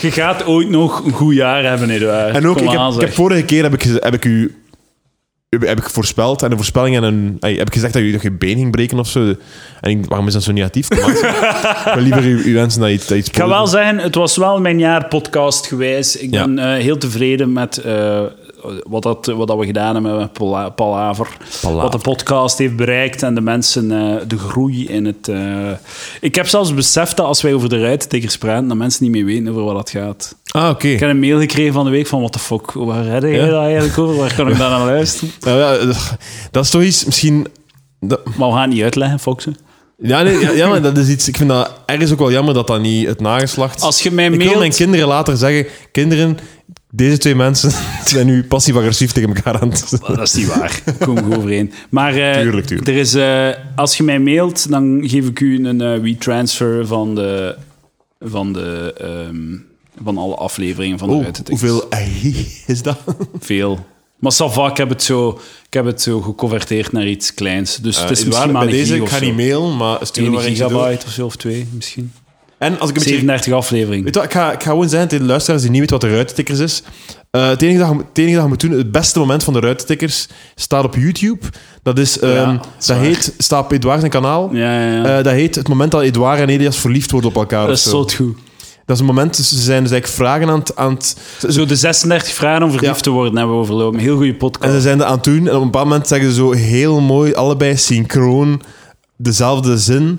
Speaker 2: Je gaat ooit nog een goed jaar hebben, Eduard.
Speaker 1: En ook,
Speaker 2: Kom
Speaker 1: ik heb,
Speaker 2: aan,
Speaker 1: ik
Speaker 2: zeg.
Speaker 1: heb vorige keer heb ik, geze- heb ik u heb- heb ik voorspeld en de voorspellingen en ey, heb ik gezegd dat je dat je been ging breken of zo. En ik, waarom is dat zo negatief? Kom, maar. ik wil liever u, u wensen dat je dat je iets
Speaker 2: Ik ga wel zeggen, het was wel mijn jaar podcast geweest. Ik
Speaker 1: Ja.
Speaker 2: ben eh, heel tevreden met eh, wat, dat, wat dat we gedaan hebben met Pala- Palaver.
Speaker 1: Palaver.
Speaker 2: Wat de podcast heeft bereikt en de mensen, eh, de groei in het... eh, Ik heb zelfs beseft dat als wij over de ruitentekers praten, dat mensen niet meer weten over wat dat gaat.
Speaker 1: Ah, oké.
Speaker 2: Ik heb een mail gekregen van de week van, what the fuck, waar heb jij
Speaker 1: Ja.
Speaker 2: dat eigenlijk over? Waar kan ik daar naar luisteren?
Speaker 1: Nou ja, eh, dat is toch iets, misschien... dat-
Speaker 2: Maar we gaan het niet uitleggen, Foxen.
Speaker 1: ja, nee, ja, ja, maar dat is iets... Ik vind dat ergens ook wel jammer dat dat niet het nageslacht...
Speaker 2: Als je mij
Speaker 1: ik wil
Speaker 2: mailt-
Speaker 1: mijn kinderen later zeggen... Kinderen, deze twee mensen zijn nu passief-agressief tegen elkaar aan het...
Speaker 2: Maar Dat is niet waar. Kom goed overeen. Maar eh,
Speaker 1: Tuurlijk, tuurlijk.
Speaker 2: Er is, eh, als je mij mailt, dan geef ik u een eh retransfer van de. Van de ehm, van alle afleveringen van de
Speaker 1: Oh,
Speaker 2: Ruitentekens.
Speaker 1: hoeveel ei is dat?
Speaker 2: Veel. Maar ça va, ik heb het zo, ik heb het zo geconverteerd naar iets kleins. Dus het is
Speaker 1: Eh,
Speaker 2: misschien
Speaker 1: Edouard,
Speaker 2: maar
Speaker 1: bij
Speaker 2: een
Speaker 1: deze,
Speaker 2: gig
Speaker 1: ik
Speaker 2: of
Speaker 1: ga
Speaker 2: zo.
Speaker 1: niet mailen, maar stuur er
Speaker 2: 1
Speaker 1: maar eentje door.
Speaker 2: gigabyte of zo, of twee misschien.
Speaker 1: En als ik een beetje...
Speaker 2: 37 afleveringen.
Speaker 1: Weet je wat, ik, ga, ik ga gewoon zeggen tegen de luisteraars die niet weten wat de ruitentikkers is. Eh, het, enige dat, je moet- het enige dat je moet doen, het beste moment van de ruitentikkers, staat op YouTube. Dat is... ehm,
Speaker 2: Ja,
Speaker 1: dat heet... Staat op Edouard zijn kanaal.
Speaker 2: Ja, ja, ja.
Speaker 1: Eh, dat heet het moment dat Edouard en Elias verliefd worden op elkaar.
Speaker 2: dat
Speaker 1: of
Speaker 2: is
Speaker 1: zo.
Speaker 2: tot goed.
Speaker 1: Dat is een moment, dus ze zijn dus eigenlijk vragen aan het... Aan het ze- ze-
Speaker 2: Zo de 36 vragen om verliefd
Speaker 1: Ja.
Speaker 2: te worden hebben we overlopen. Heel goede
Speaker 1: en
Speaker 2: podcast.
Speaker 1: ze zijn dat aan het doen. En op een bepaald moment zeggen ze zo heel mooi, allebei synchroon, dezelfde zin.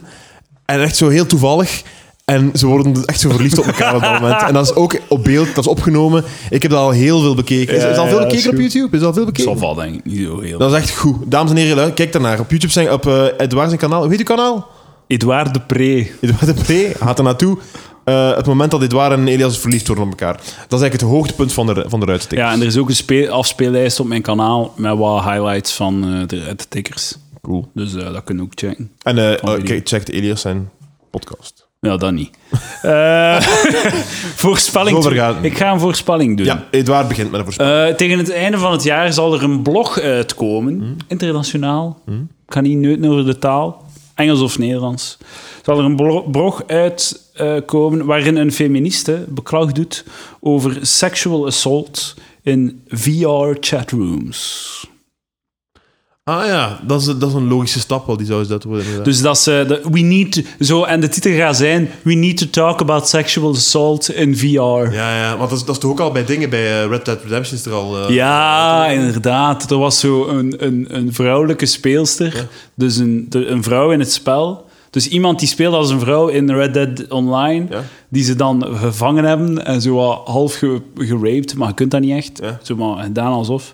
Speaker 1: En echt zo heel toevallig. En ze worden dus echt zo verliefd op elkaar op dat moment. En dat is ook op beeld, dat is opgenomen. Ik heb dat al heel veel bekeken. Is, is al veel
Speaker 2: Ja, ja, dat is
Speaker 1: bekeken op
Speaker 2: goed.
Speaker 1: YouTube? Is al veel bekeken?
Speaker 2: Ça va, denk ik. Niet zo heel
Speaker 1: Dat is echt goed. Dames en heren, lu- kijk daarnaar. Op YouTube zijn, op eh Edouard zijn kanaal. Hoe heet uw kanaal?
Speaker 2: Edouard de Pre.
Speaker 1: Edouard de Pre gaat er naartoe. Eh, het moment dat Edouard en Elias verliefd worden op elkaar. Dat is eigenlijk het hoogtepunt van de, van de ruitstick.
Speaker 2: Ja, en er is ook een speel- afspeellijst op mijn kanaal met wat highlights van eh, de uittikkers.
Speaker 1: Cool.
Speaker 2: Dus eh, dat kun je ook checken.
Speaker 1: En eh
Speaker 2: Van
Speaker 1: eh,
Speaker 2: jullie.
Speaker 1: kijk, check de Elias zijn podcast.
Speaker 2: Ja, dat niet. Eh, voorspelling.
Speaker 1: Zo ver
Speaker 2: doen.
Speaker 1: gaat het.
Speaker 2: Ik ga een voorspelling doen.
Speaker 1: Ja, Edouard begint met een voorspelling.
Speaker 2: Eh, tegen het einde van het jaar zal er een blog uitkomen.
Speaker 1: Hmm.
Speaker 2: Internationaal. Ik ga niet neuten over de taal. Engels of Nederlands. Zal er een blo- blog uitkomen waarin een feministe beklag doet over sexual assault in VR-chatrooms.
Speaker 1: ah ja, dat is, dat is een logische stap wel, die zou eens dat worden. inderdaad.
Speaker 2: Dus dat ze, dat- we need to- zo, en de titel gaat zijn, we need to talk about sexual assault in VR. Ja,
Speaker 1: ja, ja, want dat is, dat is toch ook al bij dingen, bij eh, Red Dead Redemption is er al... eh,
Speaker 2: inderdaad. Er was zo een, een, een vrouwelijke speelster, dus een, de- een vrouw in het spel. Dus iemand die speelde als een vrouw in Red Dead Online,
Speaker 1: Ja.
Speaker 2: die ze dan gevangen hebben en zo wat half ge, geraped, maar je kunt dat niet echt.
Speaker 1: Ja.
Speaker 2: Zo maar gedaan alsof.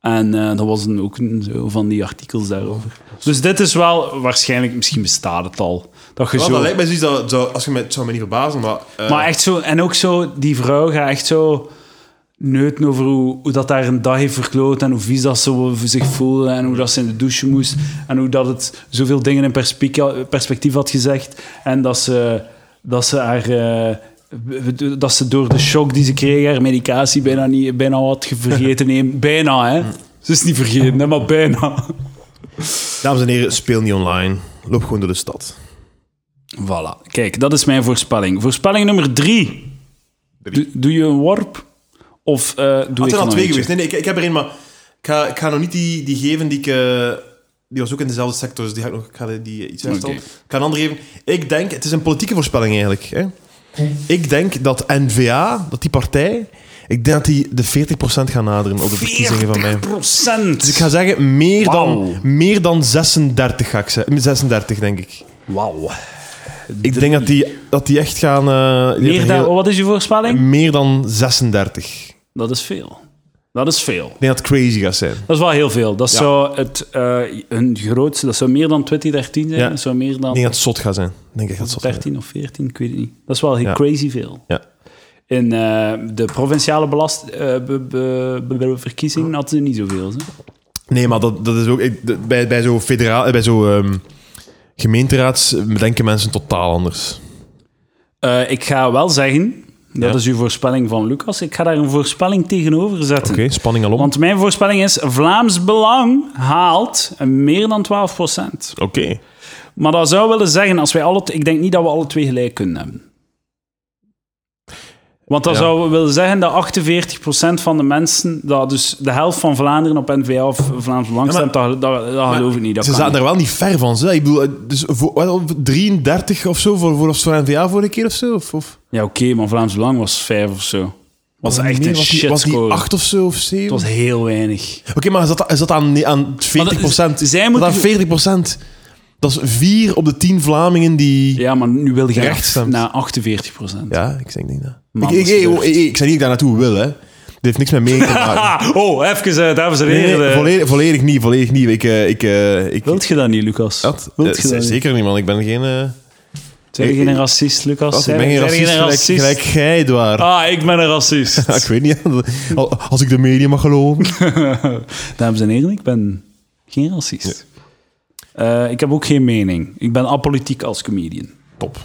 Speaker 2: En eh, dat was een, ook een, zo van die artikels daarover. Dus dit is wel, waarschijnlijk, misschien bestaat het al. Dat je
Speaker 1: wel,
Speaker 2: zo...
Speaker 1: dat lijkt mij zoiets dat, zo, als je me, het zou me niet verbazen, maar... eh,
Speaker 2: Maar echt zo, en ook zo, die vrouw gaat echt zo neuten over hoe, hoe dat daar een dag heeft verkloot en hoe vies dat ze wel voor zich voelde en hoe dat ze in de douche moest en hoe dat het zoveel dingen in perspie- perspectief had gezegd en dat ze, dat ze haar... eh, dat ze door de shock die ze kreeg haar medicatie bijna, niet, bijna had ge- vergeten nemen. Bijna, hè. Ze is niet vergeten, hè, maar bijna.
Speaker 1: Dames en heren, speel niet online. Loop gewoon door de stad.
Speaker 2: Voilà. Kijk, dat is mijn voorspelling. Voorspelling nummer drie.
Speaker 1: Drie.
Speaker 2: Doe, doe je een worp? Of eh, doe
Speaker 1: Het
Speaker 2: ik
Speaker 1: zijn al
Speaker 2: nog
Speaker 1: twee
Speaker 2: eentje?
Speaker 1: geweest. Nee, nee, ik, ik heb er één, maar ik ga, ik ga nog niet die, die geven die ik... eh, die was ook in dezelfde sector, dus die ga ik nog ik ga die iets herstellen.
Speaker 2: Oké.
Speaker 1: Ik ga een andere geven. Ik denk... Het is een politieke voorspelling eigenlijk. Hè? Ik denk dat N-VA, dat die partij... Ik denk dat die de 40% gaan naderen op de verkiezingen van mij.
Speaker 2: 40%.
Speaker 1: Dus ik ga zeggen, meer,
Speaker 2: Wauw.
Speaker 1: dan, meer dan 36 ga ik zeggen. 36, denk ik.
Speaker 2: Wauw.
Speaker 1: Ik denk dat die, dat die echt gaan... eh, die
Speaker 2: Meer
Speaker 1: hebben
Speaker 2: dan,
Speaker 1: heel-
Speaker 2: wat is je voorspelling?
Speaker 1: meer dan 36.
Speaker 2: Dat is veel. Dat is veel.
Speaker 1: Ik denk dat het crazy gaat zijn.
Speaker 2: Dat is wel heel veel. Dat
Speaker 1: Ja.
Speaker 2: zou het, eh, hun grootste, dat zou meer dan 2013 zijn.
Speaker 1: Ja.
Speaker 2: Dat zou meer
Speaker 1: Ik
Speaker 2: dan
Speaker 1: denk dat het zot gaat zijn. Ik denk echt dat het zot gaat zijn.
Speaker 2: 13 of 14, ik weet het niet. Dat is wel heel
Speaker 1: Ja.
Speaker 2: crazy veel.
Speaker 1: Ja.
Speaker 2: In eh, de provinciale belast, eh, be- be- be- be- verkiezingen hadden ze niet zoveel. Hè?
Speaker 1: Nee, maar dat, dat is ook... ik- d- bij bij zo'n federaal... Bij zo'n ehm, gemeenteraads denken mensen totaal anders.
Speaker 2: Eh, ik ga wel zeggen, dat
Speaker 1: Ja.
Speaker 2: is uw voorspelling van Lucas, ik ga daar een voorspelling tegenover
Speaker 1: Oké,
Speaker 2: zetten.
Speaker 1: spanning al om.
Speaker 2: Hm. Want mijn voorspelling is, Vlaams Belang haalt meer dan 12
Speaker 1: Oké.
Speaker 2: Maar dat zou willen zeggen, als wij alle, t- ik denk niet dat we alle twee gelijk kunnen hebben. Want dat
Speaker 1: Ja.
Speaker 2: zou willen zeggen dat 48% van de mensen, dat dus de helft van Vlaanderen op NVA of Vlaams
Speaker 1: Ja,
Speaker 2: Belang
Speaker 1: maar-
Speaker 2: stemt, dat, dat, Ah, dat geloof ik niet. Dat
Speaker 1: Ze
Speaker 2: kan
Speaker 1: zaten
Speaker 2: niet.
Speaker 1: daar wel niet ver van. Ze. Ik bedoel, eh, dus voor, wel, 33 of zo voor, voor, voor NVA vorige keer of zo? Of, of,
Speaker 2: Ja, oké, maar Vlaams Belang was 5 of zo. Was
Speaker 1: Nee,
Speaker 2: echt een
Speaker 1: was die- Was die
Speaker 2: shitscore.
Speaker 1: 8 of zo of 7?
Speaker 2: Het was heel weinig.
Speaker 1: Oké, maar is dat, is dat aan, aan 40
Speaker 2: Maar
Speaker 1: procent?
Speaker 2: dat- zij moeten-
Speaker 1: Dat aan 40 procent. Dat is 4 op de 10 Vlamingen die... Ja,
Speaker 2: Ja, maar nu wil je
Speaker 1: Recht
Speaker 2: echt
Speaker 1: stemt.
Speaker 2: naar 48
Speaker 1: ik zeg niet dat.
Speaker 2: Man,
Speaker 1: ik, ik,
Speaker 2: dat is
Speaker 1: ik-
Speaker 2: durft.
Speaker 1: ik- ik zeg niet dat ik daar naartoe wil, hè. Dit heeft niks met mening te maken.
Speaker 2: Ah, oh, even, eh, dames en
Speaker 1: Nee,
Speaker 2: heren.
Speaker 1: nee, volledig, volledig niet, volledig niet. Ik, eh, ik, eh, ik,
Speaker 2: Wilt je dat niet, Lucas?
Speaker 1: dat,
Speaker 2: Wilt
Speaker 1: eh,
Speaker 2: je dat niet?
Speaker 1: zeker niet, man. Ik ben geen... eh,
Speaker 2: Zijn
Speaker 1: Ik-
Speaker 2: je geen racist, Lucas?
Speaker 1: ik
Speaker 2: Zijn-
Speaker 1: ben geen
Speaker 2: zijn
Speaker 1: racist,
Speaker 2: je
Speaker 1: gelijk, gelijk jij, Edouard.
Speaker 2: Ah, ik ben een racist.
Speaker 1: Ja, ik weet niet, al- als ik de media mag geloven.
Speaker 2: Dames en heren, ik ben geen racist. Eh, ik heb ook geen mening. Ik ben apolitiek als comedian.
Speaker 1: Top.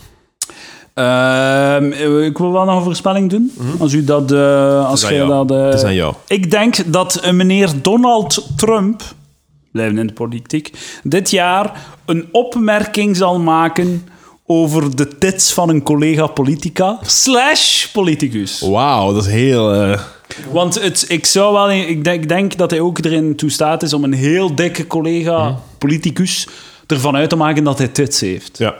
Speaker 2: Ehm, ik wil wel nog een voorspelling doen. Als u dat... eh, als
Speaker 1: Het is aan
Speaker 2: jij
Speaker 1: Mhm. jou.
Speaker 2: dat eh,
Speaker 1: Het is aan jou.
Speaker 2: Ik denk dat eh, meneer Donald Trump, blijven in de politiek, dit jaar een opmerking zal maken over de tits van een collega politica slash politicus.
Speaker 1: Wauw, dat is heel... eh,
Speaker 2: Want het, ik zou wel, ik denk, ik denk dat hij ook erin toestaat is om een heel dikke collega, politicus, ervan uit te maken dat hij tits heeft.
Speaker 1: ja.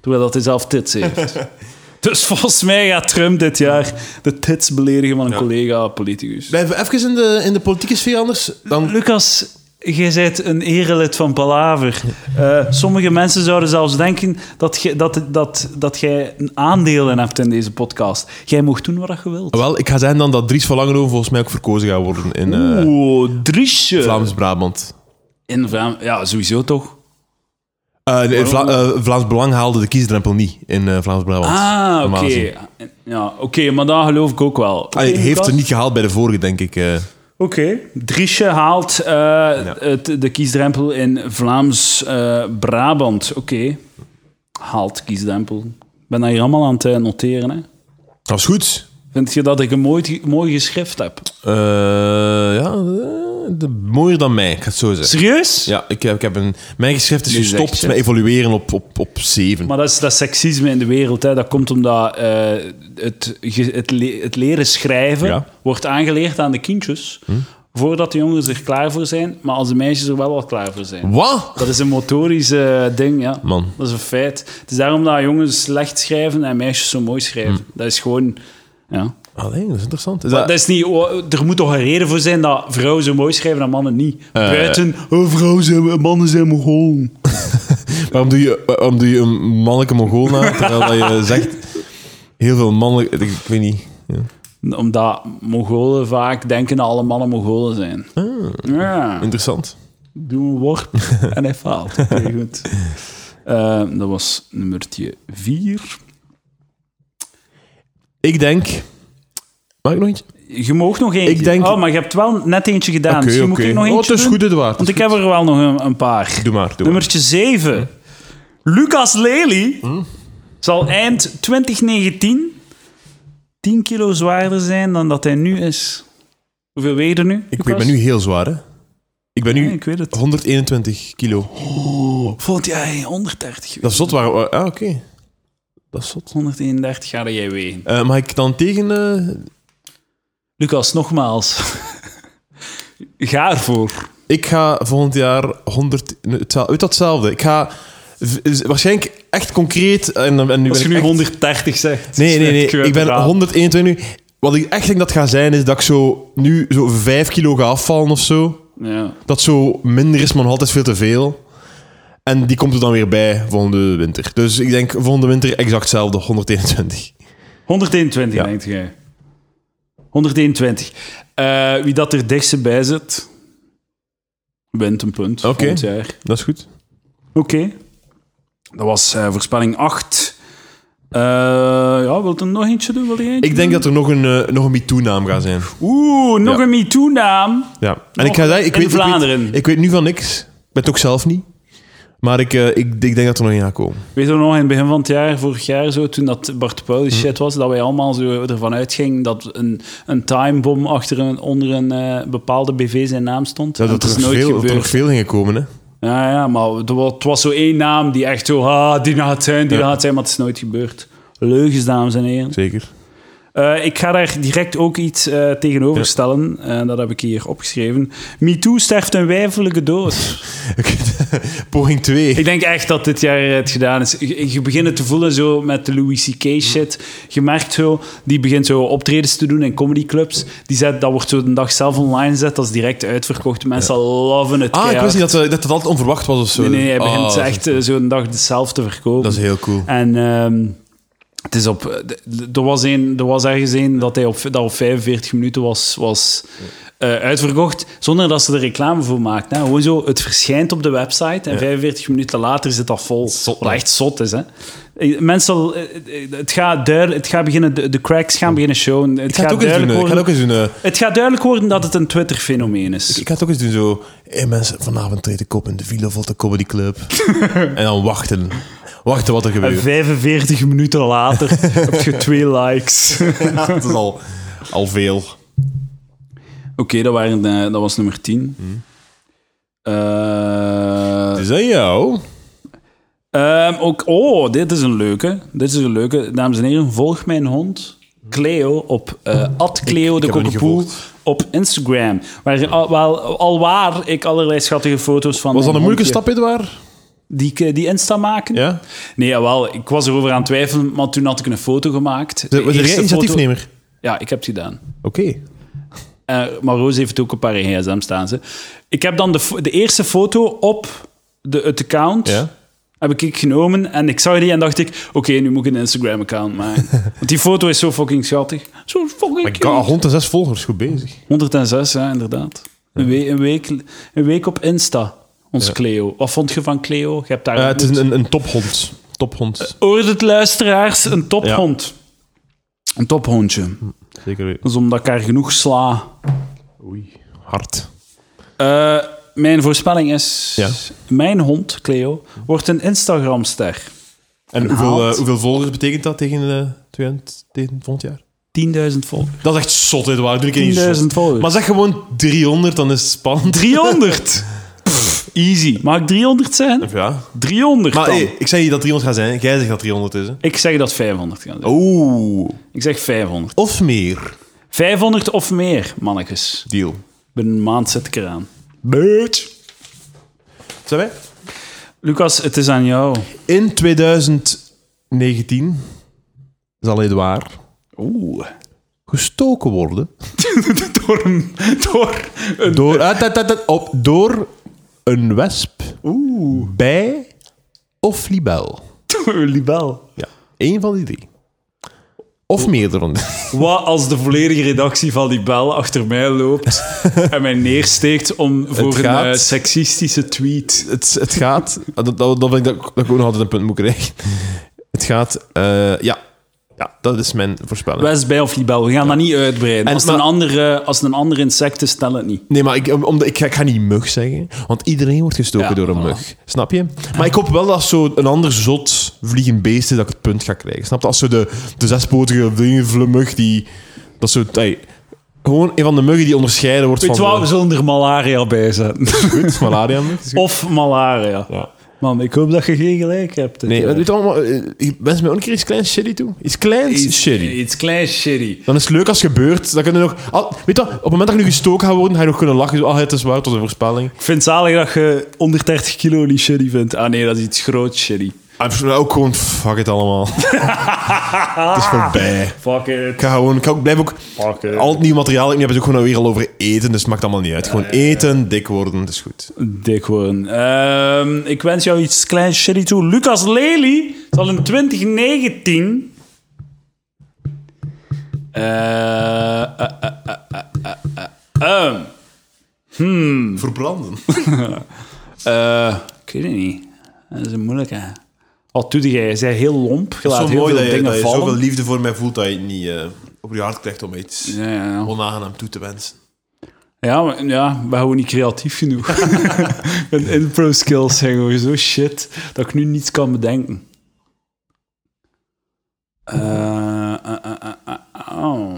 Speaker 2: Terwijl dat hij zelf tits heeft. dus volgens mij gaat Trump dit jaar de tits beledigen van een collega, politicus.
Speaker 1: Blijven we even in de, in de politieke sfeer anders. Dan
Speaker 2: Lucas, jij bent een erelid van Palaver. Eh, sommige mensen zouden zelfs denken dat, je, dat, dat, dat jij aandelen hebt in deze podcast. Jij mocht doen wat je wilt.
Speaker 1: Wel, ik ga zeggen dan dat Dries van Langenhoven volgens mij ook verkozen gaat worden in eh,
Speaker 2: Oeh, Driesje.
Speaker 1: Vlaams-Brabant.
Speaker 2: In Vlaam, ja, sowieso toch?
Speaker 1: Eh, nee, Vla- eh, Vlaams Belang haalde de kiesdrempel niet in eh, Vlaams-Brabant.
Speaker 2: Ah, oké.
Speaker 1: Normaal gezien.
Speaker 2: Ja, oké, maar dat geloof ik ook wel. Oké,
Speaker 1: Hij Ah, heeft
Speaker 2: Lucas?
Speaker 1: het niet gehaald bij de vorige, denk ik. eh.
Speaker 2: Oké. Driesje haalt eh, het, de kiesdrempel in Vlaams-Brabant. oké. Haalt kiesdrempel. Ik ben dat hier allemaal aan het eh, noteren. Hè.
Speaker 1: Dat is goed.
Speaker 2: Vind je dat ik een mooi, mooi geschrift heb?
Speaker 1: Eh, ja, eh, de, mooier dan mij, ik ga het zo zeggen.
Speaker 2: Serieus?
Speaker 1: Ja, ik, heb- ik heb een, mijn geschrift is
Speaker 2: Nu zeg
Speaker 1: gestopt
Speaker 2: je.
Speaker 1: met evolueren op, op, op 7.
Speaker 2: Maar dat is, dat is seksisme in de wereld. Hè. Dat komt omdat eh, het, ge- het, le- het leren schrijven
Speaker 1: Ja. Hm.
Speaker 2: wordt aangeleerd aan de kindjes. Voordat de jongens er klaar voor zijn, maar als de meisjes er wel al klaar voor zijn.
Speaker 1: Wat?
Speaker 2: Dat is een motorisch eh, ding, ja.
Speaker 1: Man.
Speaker 2: Dat is een feit. Het is daarom dat jongens slecht schrijven en meisjes zo mooi schrijven. Dat is gewoon... Ja.
Speaker 1: Alleen, Hm. dat is interessant. Is
Speaker 2: Dat is niet, oh, er moet toch een reden voor zijn dat vrouwen zo mooi schrijven en mannen niet.
Speaker 1: Eh.
Speaker 2: Buiten, oh, vrouwen zijn, mannen zijn gewoon.
Speaker 1: Waarom doe je, waarom doe je een mannelijke mongool na, terwijl dat je zegt... Heel veel mannelijke... Ik, ik weet niet. Ja.
Speaker 2: Omdat Mongolen vaak denken dat alle mannen Mongolen zijn.
Speaker 1: Ah.
Speaker 2: Ja,
Speaker 1: Interessant.
Speaker 2: doe een worp en hij faalt. Oké, goed. Eh, dat was nummertje vier.
Speaker 1: Ik denk... Mag ik nog eentje?
Speaker 2: Je mag nog eentje.
Speaker 1: denk-
Speaker 2: Oh, maar je hebt wel net eentje gedaan.
Speaker 1: Oké,
Speaker 2: dus je
Speaker 1: oké.
Speaker 2: moet ik nog
Speaker 1: Oh,
Speaker 2: eentje
Speaker 1: het is
Speaker 2: doen?
Speaker 1: goed, Edouard.
Speaker 2: Want ik heb er wel nog een, een paar.
Speaker 1: Doe Hm? maar, doe
Speaker 2: Nummertje 7. Lucas Lely
Speaker 1: Hm?
Speaker 2: zal eind 2019 10 kilo zwaarder zijn dan dat hij nu is. Hoeveel weeg je er nu?
Speaker 1: maar. Ik, ik ben nu heel zwaar, hè. Ik ben nu
Speaker 2: Ja, ik weet het.
Speaker 1: 121 kilo. Oh.
Speaker 2: Volgend jaar 130.
Speaker 1: Dat is zot. Waar, waar- ah, oké. Dat is zot.
Speaker 2: 131 ga jij wegen.
Speaker 1: Eh, mag ik dan tegen... eh,
Speaker 2: Lucas, nogmaals. ga ervoor.
Speaker 1: ik ga volgend jaar 100... nee, hetzelfde- Uit datzelfde. Ik ga... v- is- Waarschijnlijk echt concreet... eh, En, en nu
Speaker 2: Als
Speaker 1: ben
Speaker 2: je
Speaker 1: ik
Speaker 2: nu eh,
Speaker 1: echt-
Speaker 2: 130 zegt.
Speaker 1: Nee, nee,
Speaker 2: snijd
Speaker 1: nee.
Speaker 2: je uit
Speaker 1: Ik
Speaker 2: de
Speaker 1: ben
Speaker 2: raam.
Speaker 1: 121 nu. Wat ik echt denk dat gaat zijn, is dat ik zo nu zo 5 kilo ga afvallen of zo.
Speaker 2: Ja.
Speaker 1: Dat zo minder is, maar nog altijd veel te veel. En die komt er dan weer bij volgende winter. Dus ik denk volgende winter exact hetzelfde, 121.
Speaker 2: 121,
Speaker 1: Ja.
Speaker 2: denkt jij. 121. Eh, wie dat er dichtst bij zit, wint een punt.
Speaker 1: Oké.
Speaker 2: volgend jaar.
Speaker 1: Dat is goed.
Speaker 2: Oké. Dat was eh, voorspelling 8. Eh, ja, wilt er nog eentje doen? Wil je eentje
Speaker 1: Ik denk dat er nog een, eh, nog een MeToo-naam gaat zijn.
Speaker 2: doen? Oeh, nog
Speaker 1: Ja.
Speaker 2: een MeToo-naam.
Speaker 1: Ja. En ik ga zeggen, ik
Speaker 2: in
Speaker 1: weet, ik,
Speaker 2: Vlaanderen.
Speaker 1: weet, ik weet nu van niks. Ik ben het ook zelf niet. Maar ik, eh, ik, ik denk dat er nog een gaat komen.
Speaker 2: Weet je nog, in het begin van het jaar, vorig jaar, zo, toen dat Bart Pauw die
Speaker 1: Mhm.
Speaker 2: shit was, dat wij allemaal zo ervan uitgingen dat een, een timebom achter een, onder een eh, bepaalde BV zijn naam stond.
Speaker 1: Ja,
Speaker 2: En
Speaker 1: dat,
Speaker 2: het
Speaker 1: er
Speaker 2: is nooit
Speaker 1: veel, dat er nog
Speaker 2: gebeurd.
Speaker 1: veel gingen komen, hè.
Speaker 2: Ja, ja, maar het wa- het was zo één naam die echt zo, ah, die gaat zijn, die
Speaker 1: Ja.
Speaker 2: gaat zijn, maar het is nooit gebeurd. Leugens, dames en heren.
Speaker 1: Zeker.
Speaker 2: Eh, ik ga daar direct ook iets eh, tegenover stellen. Eh, dat heb ik hier opgeschreven. MeToo sterft een wijfelijke dood.
Speaker 1: Poging 2.
Speaker 2: ik denk echt dat dit jaar het gedaan is. Je, je begint het te voelen zo met de Louis C.K. shit. Je merkt zo, die begint zo optredens te doen in comedyclubs. Die zet, dat wordt zo de dag zelf online gezet. Dat is direct uitverkocht. Mensen loven het
Speaker 1: Ah, ik
Speaker 2: keihard.
Speaker 1: wist niet dat, eh, dat dat altijd onverwacht was of zo.
Speaker 2: Nee, nee, hij
Speaker 1: Ah,
Speaker 2: begint
Speaker 1: dat is-
Speaker 2: echt eh, zo een dag zelf te verkopen.
Speaker 1: Dat is heel cool.
Speaker 2: En ehm, het is op, eh, d- d- er, was een, er was ergens een dat hij op, dat op 45 minuten was, was eh, uitverkocht, zonder dat ze er reclame voor maakt. Hè. Gewoon zo, het verschijnt op de website en 45 minuten later zit dat vol.
Speaker 1: Zot,
Speaker 2: Wat
Speaker 1: hè.
Speaker 2: echt zot is, hè. Eh, Mensen, eh, eh, het gaat duidelijk, het gaat beginnen, de, de cracks gaan beginnen showen. Het
Speaker 1: Ik ga het ook eens doen.
Speaker 2: duidelijk
Speaker 1: eh, Ik ga het ook
Speaker 2: worden,
Speaker 1: eens doen. eh,
Speaker 2: het gaat duidelijk worden dat het een Twitter-fenomeen is.
Speaker 1: Ik ga het ook eens doen zo. Hey mensen, vanavond treed ik op in de Villa Volta Comedy Club. en dan wachten. Wachten wat er
Speaker 2: En
Speaker 1: gebeurt.
Speaker 2: 45 Eh, minuten later heb je twee likes. Oké,
Speaker 1: dat is al, al veel.
Speaker 2: dat, waren, eh, dat was nummer 10.
Speaker 1: Hmm.
Speaker 2: Eh,
Speaker 1: Is dat jou?
Speaker 2: ehm, ook, oh, dit is een leuke. Dit is een leuke. Dames en heren, volg mijn hond. Cleo op eh @cleo de
Speaker 1: heb hem niet
Speaker 2: Kokkepoel
Speaker 1: gevolgd.
Speaker 2: op Instagram. Waar, al, wel, alwaar ik allerlei schattige foto's van.
Speaker 1: Was dat
Speaker 2: mijn
Speaker 1: een moeilijke
Speaker 2: hondje
Speaker 1: stap, Edouard?
Speaker 2: Die, ik, eh, die Insta maken?
Speaker 1: Ja?
Speaker 2: Nee, jawel, ik was erover aan het twijfelen, maar toen had ik een foto gemaakt. De
Speaker 1: Was er
Speaker 2: eerste
Speaker 1: geen initiatiefnemer?
Speaker 2: foto- Ja, ik heb het gedaan.
Speaker 1: Oké.
Speaker 2: Eh, maar Roos heeft ook een paar in gsm staan. Ze. Ik heb dan de, fo- de eerste foto op de, het account
Speaker 1: Ja.
Speaker 2: heb ik, ik genomen. En ik zag die en dacht ik, oké, nu moet ik een Instagram-account maken. Want die foto is zo fucking schattig. Zo fucking
Speaker 1: Ik
Speaker 2: cute.
Speaker 1: had 106 volgers, goed bezig.
Speaker 2: 106, ja, inderdaad. Een, we- een, week, een week op Insta, ons Cleo. Wat vond je van Cleo? Je hebt daar
Speaker 1: Eh, het is
Speaker 2: ontmoet.
Speaker 1: een, een tophond. Tophond.
Speaker 2: Oor het luisteraars, een tophond. Een tophondje.
Speaker 1: Zeker weten.
Speaker 2: Dat is omdat ik haar genoeg sla.
Speaker 1: hard.
Speaker 2: Eh, mijn voorspelling is...
Speaker 1: Ja.
Speaker 2: Mijn hond, Cleo, wordt een Instagramster.
Speaker 1: En hoeveel,
Speaker 2: haalt.
Speaker 1: eh, hoeveel volgers betekent dat tegen, eh, 200 tegen volgend jaar?
Speaker 2: 10.000 volgers.
Speaker 1: Dat is echt zot, Edouard. Doe ik niet
Speaker 2: 10.000
Speaker 1: zot.
Speaker 2: volgers.
Speaker 1: Maar zeg gewoon 300, dan is het spannend.
Speaker 2: 300! Pff, easy. Mag ik 300 zijn?
Speaker 1: Ja.
Speaker 2: 300
Speaker 1: Maar eh,
Speaker 2: dan.
Speaker 1: hey, ik zei je dat 300 gaat zijn. Jij zegt dat 300 is, hè?
Speaker 2: Ik zeg dat 500 gaan zijn.
Speaker 1: Oeh.
Speaker 2: Ik zeg 500.
Speaker 1: Of meer.
Speaker 2: 500 of meer, mannetjes.
Speaker 1: Deal.
Speaker 2: Binnen een maand zit ik eraan. Bitch.
Speaker 1: Zijn wij?
Speaker 2: Lucas, het is aan jou.
Speaker 1: In 2019 zal Edouard
Speaker 2: Oeh.
Speaker 1: gestoken worden
Speaker 2: Door een... Door een...
Speaker 1: door, ah, uit, uit, uit, uit, op, door een wesp
Speaker 2: Oeh.
Speaker 1: bij of libel.
Speaker 2: Door een libel.
Speaker 1: Ja, één van die drie. Of meerdere.
Speaker 2: Wat als de volledige redactie van die bel achter mij loopt en mij neersteekt om voor een
Speaker 1: gaat.
Speaker 2: eh, seksistische tweet?
Speaker 1: het, het gaat... ah, Dat, dat, dat vind ik dat, ik- dat ik ook nog altijd een punt moet krijgen. Het gaat... eh, ja. ja, dat is mijn voorspelling.
Speaker 2: West bij of libel, we gaan dat niet uitbreiden.
Speaker 1: En-
Speaker 2: als, het
Speaker 1: maar-
Speaker 2: een andere, als het een ander insect is, stel het niet.
Speaker 1: Nee, maar ik, om- om de- ik, ga, ik ga niet mug zeggen, want iedereen wordt gestoken
Speaker 2: Ja,
Speaker 1: door een
Speaker 2: voilà.
Speaker 1: mug. Snap je? Maar ik hoop wel dat zo een ander zot vliegend beest is dat ik het punt ga krijgen. Snap je? Als zo de, de zespotige vliegende mug die... Dat zo... ey, gewoon een van de muggen die onderscheiden wordt
Speaker 2: Weet je wat,
Speaker 1: van
Speaker 2: we zullen er malaria bij zetten.
Speaker 1: de malaria mug.
Speaker 2: of malaria.
Speaker 1: Ja.
Speaker 2: Man, ik hoop dat je geen gelijk hebt. dit
Speaker 1: Nee,
Speaker 2: jaar.
Speaker 1: weet je allemaal, wens mij ook een keer iets kleins shitty toe. Iets kleins
Speaker 2: Iets-
Speaker 1: shitty.
Speaker 2: Iets klein shitty.
Speaker 1: Dan is het leuk als het gebeurt. Dan kunnen we nog... al- weet je wat, op het moment dat je nu gestoken gaat worden, ga je nog kunnen lachen. Zo, ah, het is waar, tot een voorspelling.
Speaker 2: Ik vind het zalig dat je onder 30 kilo niet shitty vindt. Ah nee, dat is iets groot shitty.
Speaker 1: En ook gewoon, fuck het allemaal. het is voorbij.
Speaker 2: Fuck it.
Speaker 1: Ik ga gewoon, ik ga ook- blijf ook.
Speaker 2: Fuck eh. it.
Speaker 1: Al het nieuw materiaal, ik heb het ook gewoon weer al over eten, dus het maakt allemaal niet uit. Gewoon
Speaker 2: Eh.
Speaker 1: eten, dik worden, dat is goed.
Speaker 2: Dik worden. Ehm, ik wens jou iets kleins shitty toe. Lucas Lely zal in 2019... Eh, eh, eh, eh, eh, eh, eh, Ehm,
Speaker 1: Verbranden.
Speaker 2: eh, ik weet het niet. Dat is een moeilijke. Wat doe jij? Je bent heel lomp. Je laat
Speaker 1: Zo
Speaker 2: heel
Speaker 1: mooi
Speaker 2: veel
Speaker 1: dat je,
Speaker 2: dingen
Speaker 1: dat je
Speaker 2: vallen.
Speaker 1: zoveel liefde voor mij voelt dat je het niet eh, op je hart krijgt om iets
Speaker 2: Ja, ja, ja.
Speaker 1: onaangenaam toe te wensen.
Speaker 2: Ja, maar, ja, we houden niet creatief genoeg. Mijn impro skills zijn gewoon zo shit dat ik nu niets kan bedenken. Eh, eh, eh, eh, eh, oh.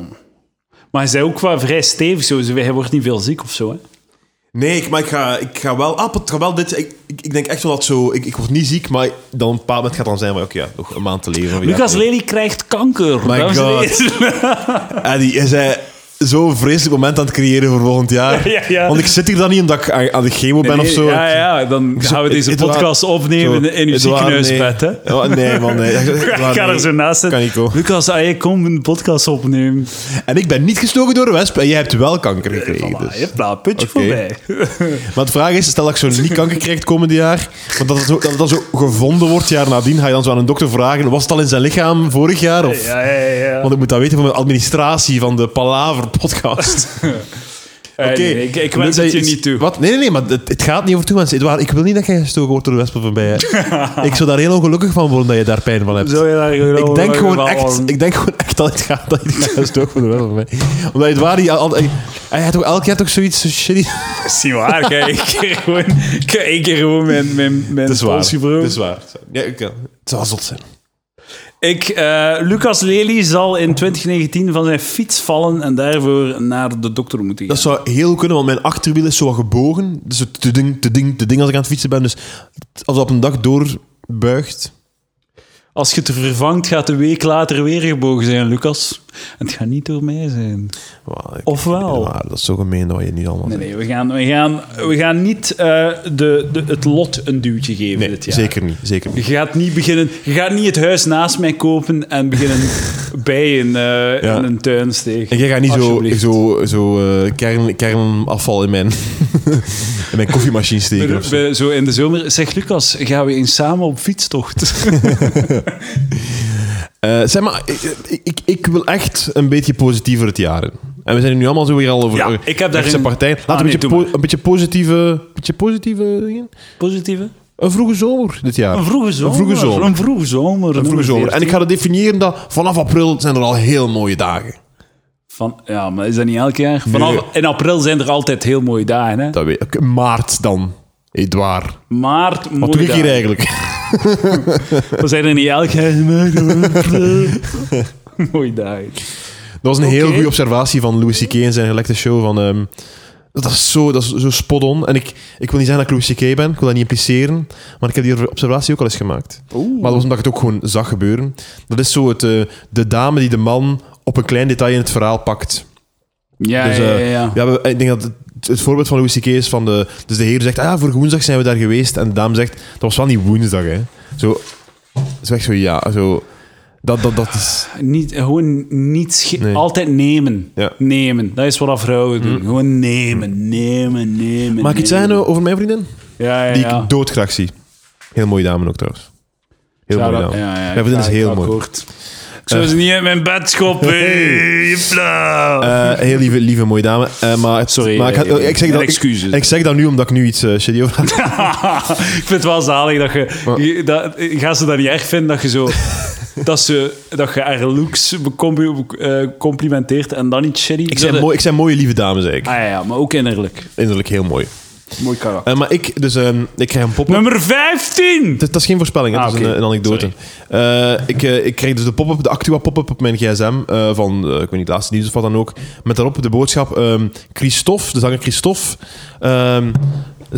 Speaker 2: Maar hij zei ook wel vrij stevig, zo. Ze- hij wordt niet veel ziek of zo. Hè?
Speaker 1: Nee, ik, maar ik ga, ik ga wel... Ah, het gaat wel dit... Ik, ik, ik denk echt wel dat zo... Ik, ik word niet ziek, maar dan op een bepaald moment gaat dan zijn van... Oké, ja, nog een maand te leven. of ja,
Speaker 2: Lucas
Speaker 1: nee.
Speaker 2: Lely krijgt kanker.
Speaker 1: My
Speaker 2: dames en
Speaker 1: God.
Speaker 2: heren.
Speaker 1: Eddie, is hij zo'n vreselijk moment aan het creëren voor volgend jaar?
Speaker 2: Ja, ja.
Speaker 1: Want ik zit hier dan niet omdat ik aan, aan de chemo ben of zo.
Speaker 2: Ja, ja, dan gaan we
Speaker 1: Zo,
Speaker 2: deze
Speaker 1: Edouard-
Speaker 2: podcast opnemen
Speaker 1: zo,
Speaker 2: in uw
Speaker 1: Edouard, nee.
Speaker 2: ziekenhuisbed. Hè?
Speaker 1: Ja, nee, man. Nee.
Speaker 2: Ik ga er zo naast
Speaker 1: Kan niet,
Speaker 2: zitten.
Speaker 1: hoor.
Speaker 2: Lucas, ah, jij komt een podcast opnemen.
Speaker 1: En ik ben niet gestoken door een wesp en jij hebt wel kanker gekregen.
Speaker 2: Voilà,
Speaker 1: dus.
Speaker 2: je hebt nou een puntje
Speaker 1: Oké.
Speaker 2: voorbij.
Speaker 1: Maar de vraag is, stel dat ik zo niet kanker krijg het komende jaar, want dat het, zo, dat het dan zo gevonden wordt jaar nadien, ga je dan zo aan een dokter vragen, was het al in zijn lichaam vorig jaar? Of,
Speaker 2: Ja, ja, ja.
Speaker 1: Want ik moet dat weten van mijn administratie van de Palaver-podcast.
Speaker 2: Eh, nee, nee, ik, ik wens het je niet toe.
Speaker 1: Wat? Nee, nee, nee, maar het, het gaat niet over toe, mensen. Edouard, ik wil niet dat jij gestoken wordt door de wespen van mij. hè. ik zou daar heel ongelukkig van worden dat je daar pijn van hebt.
Speaker 2: Zou je daar
Speaker 1: Ik
Speaker 2: gewoon-
Speaker 1: denk, gewoon
Speaker 2: wel-
Speaker 1: echt, ik denk gewoon echt dat het gaat dat je daar gestoken wordt door de wespen van mij. Omdat Edouard, die al- hij, hij had ook elk jaar toch zoiets zo shitty...
Speaker 2: Dat is niet waar. Kijk, ik keer gewoon, ik heb één keer gewoon mijn, mijn, mijn
Speaker 1: Het is waar.
Speaker 2: pols gebroken.
Speaker 1: Het is waar. Ja, ik, het zal zot zijn.
Speaker 2: Ik, eh, Lucas Lely zal in 2019 van zijn fiets vallen en daarvoor naar de dokter moeten gaan.
Speaker 1: Dat zou heel goed kunnen, want mijn achterwiel is zo wat gebogen. Dus het te ding, te ding, te ding als ik aan het fietsen ben. Dus als dat op een dag doorbuigt.
Speaker 2: Als je het vervangt, gaat de week later weer gebogen zijn, Lucas. En het gaat niet door mij zijn.
Speaker 1: Wow, ik-
Speaker 2: Ofwel.
Speaker 1: Maar dat is zo gemeen dat wat je nu allemaal
Speaker 2: Nee,
Speaker 1: zegt.
Speaker 2: nee, we gaan, we gaan, we gaan niet eh, de, de, het lot een duwtje geven
Speaker 1: Nee,
Speaker 2: dit jaar.
Speaker 1: zeker niet. Zeker
Speaker 2: Je
Speaker 1: niet.
Speaker 2: gaat niet beginnen. Je gaat niet het huis naast mij kopen en beginnen bijen eh
Speaker 1: Ja.
Speaker 2: in een tuin steken.
Speaker 1: En jij gaat niet zo,
Speaker 2: Alsjeblieft.
Speaker 1: zo, zo eh, kern, kernafval in mijn, in mijn koffiemachine
Speaker 2: Bij
Speaker 1: steken.
Speaker 2: de-
Speaker 1: of zo.
Speaker 2: bij- Zo in de zomer. Zeg Lucas, gaan we eens samen op fietstocht?
Speaker 1: Eh, zeg maar, ik, ik, ik wil echt een beetje positiever het jaar in. En we zijn er nu allemaal zo weer al over.
Speaker 2: Ja,
Speaker 1: over
Speaker 2: ik heb
Speaker 1: rechtse
Speaker 2: daarin-
Speaker 1: partijen. Laat
Speaker 2: Ah,
Speaker 1: een,
Speaker 2: nee,
Speaker 1: beetje
Speaker 2: doe
Speaker 1: po- een beetje positieve, beetje positieve dingen.
Speaker 2: Positieve?
Speaker 1: Een vroege zomer dit jaar.
Speaker 2: Een vroege zomer.
Speaker 1: Een vroege zomer.
Speaker 2: Een vroege zomer.
Speaker 1: Een vroege zomer. En ik ga het definiëren dat vanaf april zijn er al heel mooie dagen.
Speaker 2: Van, ja, maar is dat niet elk jaar? Vanaf, in april zijn er altijd heel mooie dagen. Hè?
Speaker 1: Dat weet ik. Maart dan. Edouard.
Speaker 2: Maart,
Speaker 1: Wat
Speaker 2: mooie
Speaker 1: doe ik hier
Speaker 2: dagen.
Speaker 1: eigenlijk?
Speaker 2: We zijn er niet elk jaar. mooie dagen.
Speaker 1: Dat was een heel
Speaker 2: Oké.
Speaker 1: goede observatie van Louis C.K. in zijn gelekte show. Van, ehm, dat is zo, dat is zo spot-on. En ik, ik wil niet zeggen dat ik Louis C.K. ben. Ik wil dat niet impliceren. Maar ik heb die observatie ook al eens gemaakt. Maar dat was omdat ik het ook gewoon zag gebeuren. Dat is zo het, eh, de dame die de man op een klein detail in het verhaal pakt.
Speaker 2: Ja,
Speaker 1: Dus,
Speaker 2: ja,
Speaker 1: eh,
Speaker 2: ja, ja.
Speaker 1: ja, we- ik denk dat het, het voorbeeld van Louis C.K. is van de... Dus de heer zegt, ah, voor woensdag zijn we daar geweest. En de dame zegt, dat was wel niet woensdag, hè. Zo, is echt zo, ja, zo... Dat, dat, dat is...
Speaker 2: Niet, gewoon niet schi-
Speaker 1: Nee.
Speaker 2: Altijd nemen.
Speaker 1: Ja. Hm.
Speaker 2: Nemen. Dat is wat dat vrouwen doen. Gewoon nemen, nemen, nemen.
Speaker 1: Mag ik iets
Speaker 2: nemen.
Speaker 1: zeggen over mijn vriendin?
Speaker 2: Ja, ja,
Speaker 1: Die
Speaker 2: ja.
Speaker 1: ik doodgraag zie. Heel mooie dame ook, trouwens. Heel
Speaker 2: Ja,
Speaker 1: mooie
Speaker 2: dat-
Speaker 1: dame.
Speaker 2: ja, ja,
Speaker 1: mijn vriendin is
Speaker 2: ja,
Speaker 1: heel
Speaker 2: ik
Speaker 1: mooi.
Speaker 2: akkoord. Ik zou ze niet uit mijn bed schoppen. Jepla.
Speaker 1: Eh, heel lieve, lieve mooie dame. Eh, maar het-
Speaker 2: Sorry,
Speaker 1: maar ik, had-
Speaker 2: eh,
Speaker 1: ik zeg
Speaker 2: mijn
Speaker 1: dat,
Speaker 2: excuses.
Speaker 1: Ik, ik zeg dat nu omdat ik nu iets eh shitty over had. Eh.
Speaker 2: ik vind het wel zalig dat je... je- dat, gaan ze dat niet erg vinden dat je zo... dat, ze, dat je haar looks becombi- eh, complimenteert en dan niet shitty?
Speaker 1: Ik zijn, mooi, ik zijn mooie lieve dames, eigenlijk.
Speaker 2: Ah ja, ja, maar ook innerlijk.
Speaker 1: Innerlijk heel mooi.
Speaker 2: Mooi karakter.
Speaker 1: Eh, maar ik, dus ehm, ik krijg een pop
Speaker 2: Nummer 15!
Speaker 1: Dat, dat is geen voorspelling, hè?
Speaker 2: Ah,
Speaker 1: dat is
Speaker 2: oké.
Speaker 1: een, een anekdote. Eh, ik, eh, ik kreeg dus de pop-up, de Actua pop-up op mijn gsm eh, van, eh, ik weet niet, het laatste nieuws of wat dan ook. Met daarop de boodschap, ehm Christophe, de zanger Christophe, ehm,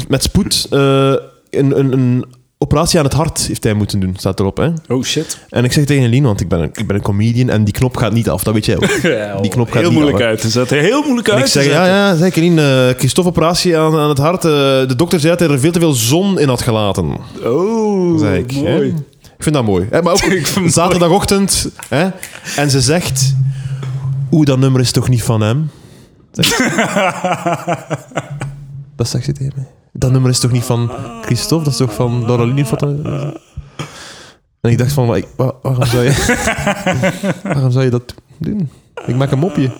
Speaker 1: met spoed eh, een, een, een operatie aan het hart heeft hij moeten doen, staat erop. Hè?
Speaker 2: Oh shit.
Speaker 1: En ik zeg tegen Lien, want ik ben, een, ik ben een comedian en die knop gaat niet af, dat weet jij ook.
Speaker 2: Ja, oh,
Speaker 1: Die knop gaat
Speaker 2: heel
Speaker 1: niet
Speaker 2: moeilijk
Speaker 1: aan, hè.
Speaker 2: uit te zetten. Heel moeilijk
Speaker 1: En
Speaker 2: uit
Speaker 1: ik
Speaker 2: te
Speaker 1: zeg, ja,
Speaker 2: zetten.
Speaker 1: ja, zeker Lien, eh Christophe operatie aan, aan het hart. Eh, de dokter zei dat hij er veel te veel zon in had gelaten.
Speaker 2: Oh,
Speaker 1: Zeg ik. hè.
Speaker 2: mooi.
Speaker 1: Ik vind dat mooi. Hè, maar ook
Speaker 2: Ik vind het
Speaker 1: zaterdagochtend. Hè, en ze zegt... Oeh, dat nummer is toch niet van hem? Zeg ik. dat zegt ze tegen mij. Dat nummer is toch niet van Christophe? Dat is toch van Laureline? Of wat dan- En ik dacht van... wa- wa- Waarom zou je, waarom zou je dat doen? Ik maak een mopje.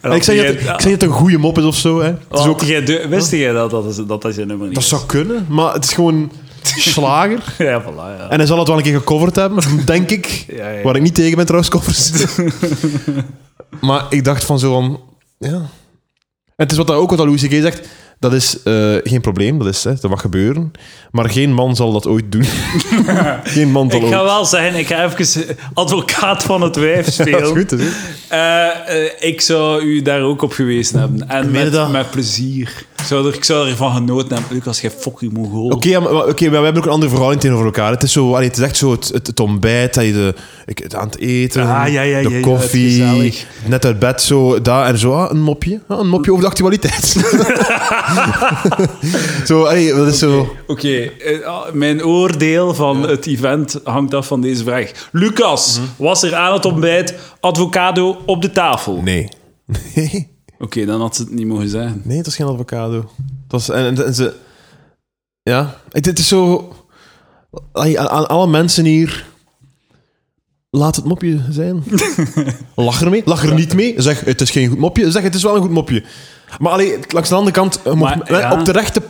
Speaker 2: En
Speaker 1: ik zeg niet dat, ik zeg niet dat het een goede mop is of zo. Hè. Het is ook,
Speaker 2: Wist jij dat dat, is- dat dat zijn nummer niet
Speaker 1: dat
Speaker 2: is?
Speaker 1: zou kunnen, maar het is gewoon slager.
Speaker 2: Ja, voilà, ja.
Speaker 1: En hij zal het wel een keer gecoverd hebben, denk ik.
Speaker 2: Ja, ja.
Speaker 1: Waar ik niet tegen ben trouwens, covers. maar ik dacht van zo van... Ja. En het is wat dat ook wat dat Louis C.K. zegt. Dat is eh, geen probleem, dat, is, hè, dat mag gebeuren. Maar geen man zal dat ooit doen. geen man zal
Speaker 2: Ik
Speaker 1: ooit.
Speaker 2: ga wel zeggen, ik ga even eh, advocaat van het wijf spelen.
Speaker 1: Ja, dat is goed. Dat is goed.
Speaker 2: Eh, eh, ik zou u daar ook op gewezen hebben. En
Speaker 1: meen je
Speaker 2: met,
Speaker 1: dat?
Speaker 2: met plezier. Ik zou, er, ik zou ervan genoten hebben. Lucas, jij fucking mongool.
Speaker 1: Oké, ja, maar, oké, maar we hebben ook een andere verhouding tegenover elkaar. Het is, zo, allee, het is echt zo het, het, het ontbijt, dat je de, ik, het aan het eten,
Speaker 2: Ah, ja, ja,
Speaker 1: de
Speaker 2: ja, ja,
Speaker 1: koffie,
Speaker 2: het gezellig.
Speaker 1: net uit bed, zo, daar en zo, ah, een mopje. Ah, een mopje over de actualiteit. zo, allee, dat is zo...
Speaker 2: Oké, eh, ah, mijn oordeel van het event hangt af van deze vraag. Lucas,
Speaker 1: Mhm.
Speaker 2: was er aan het ontbijt avocado op de tafel?
Speaker 1: Nee. Nee,
Speaker 2: Oké, dan had ze het niet mogen zeggen.
Speaker 1: nee het was geen avocado. Het was, en, en- en ze... Ja, het, het is zo... allee, aan, aan alle mensen hier... Laat het mopje zijn. Lach er mee. Lach er niet mee. Zeg, het is geen goed mopje. Zeg, het is wel een goed mopje. Maar allee, langs de andere kant, je mocht-
Speaker 2: Maar, ja.
Speaker 1: op de rechte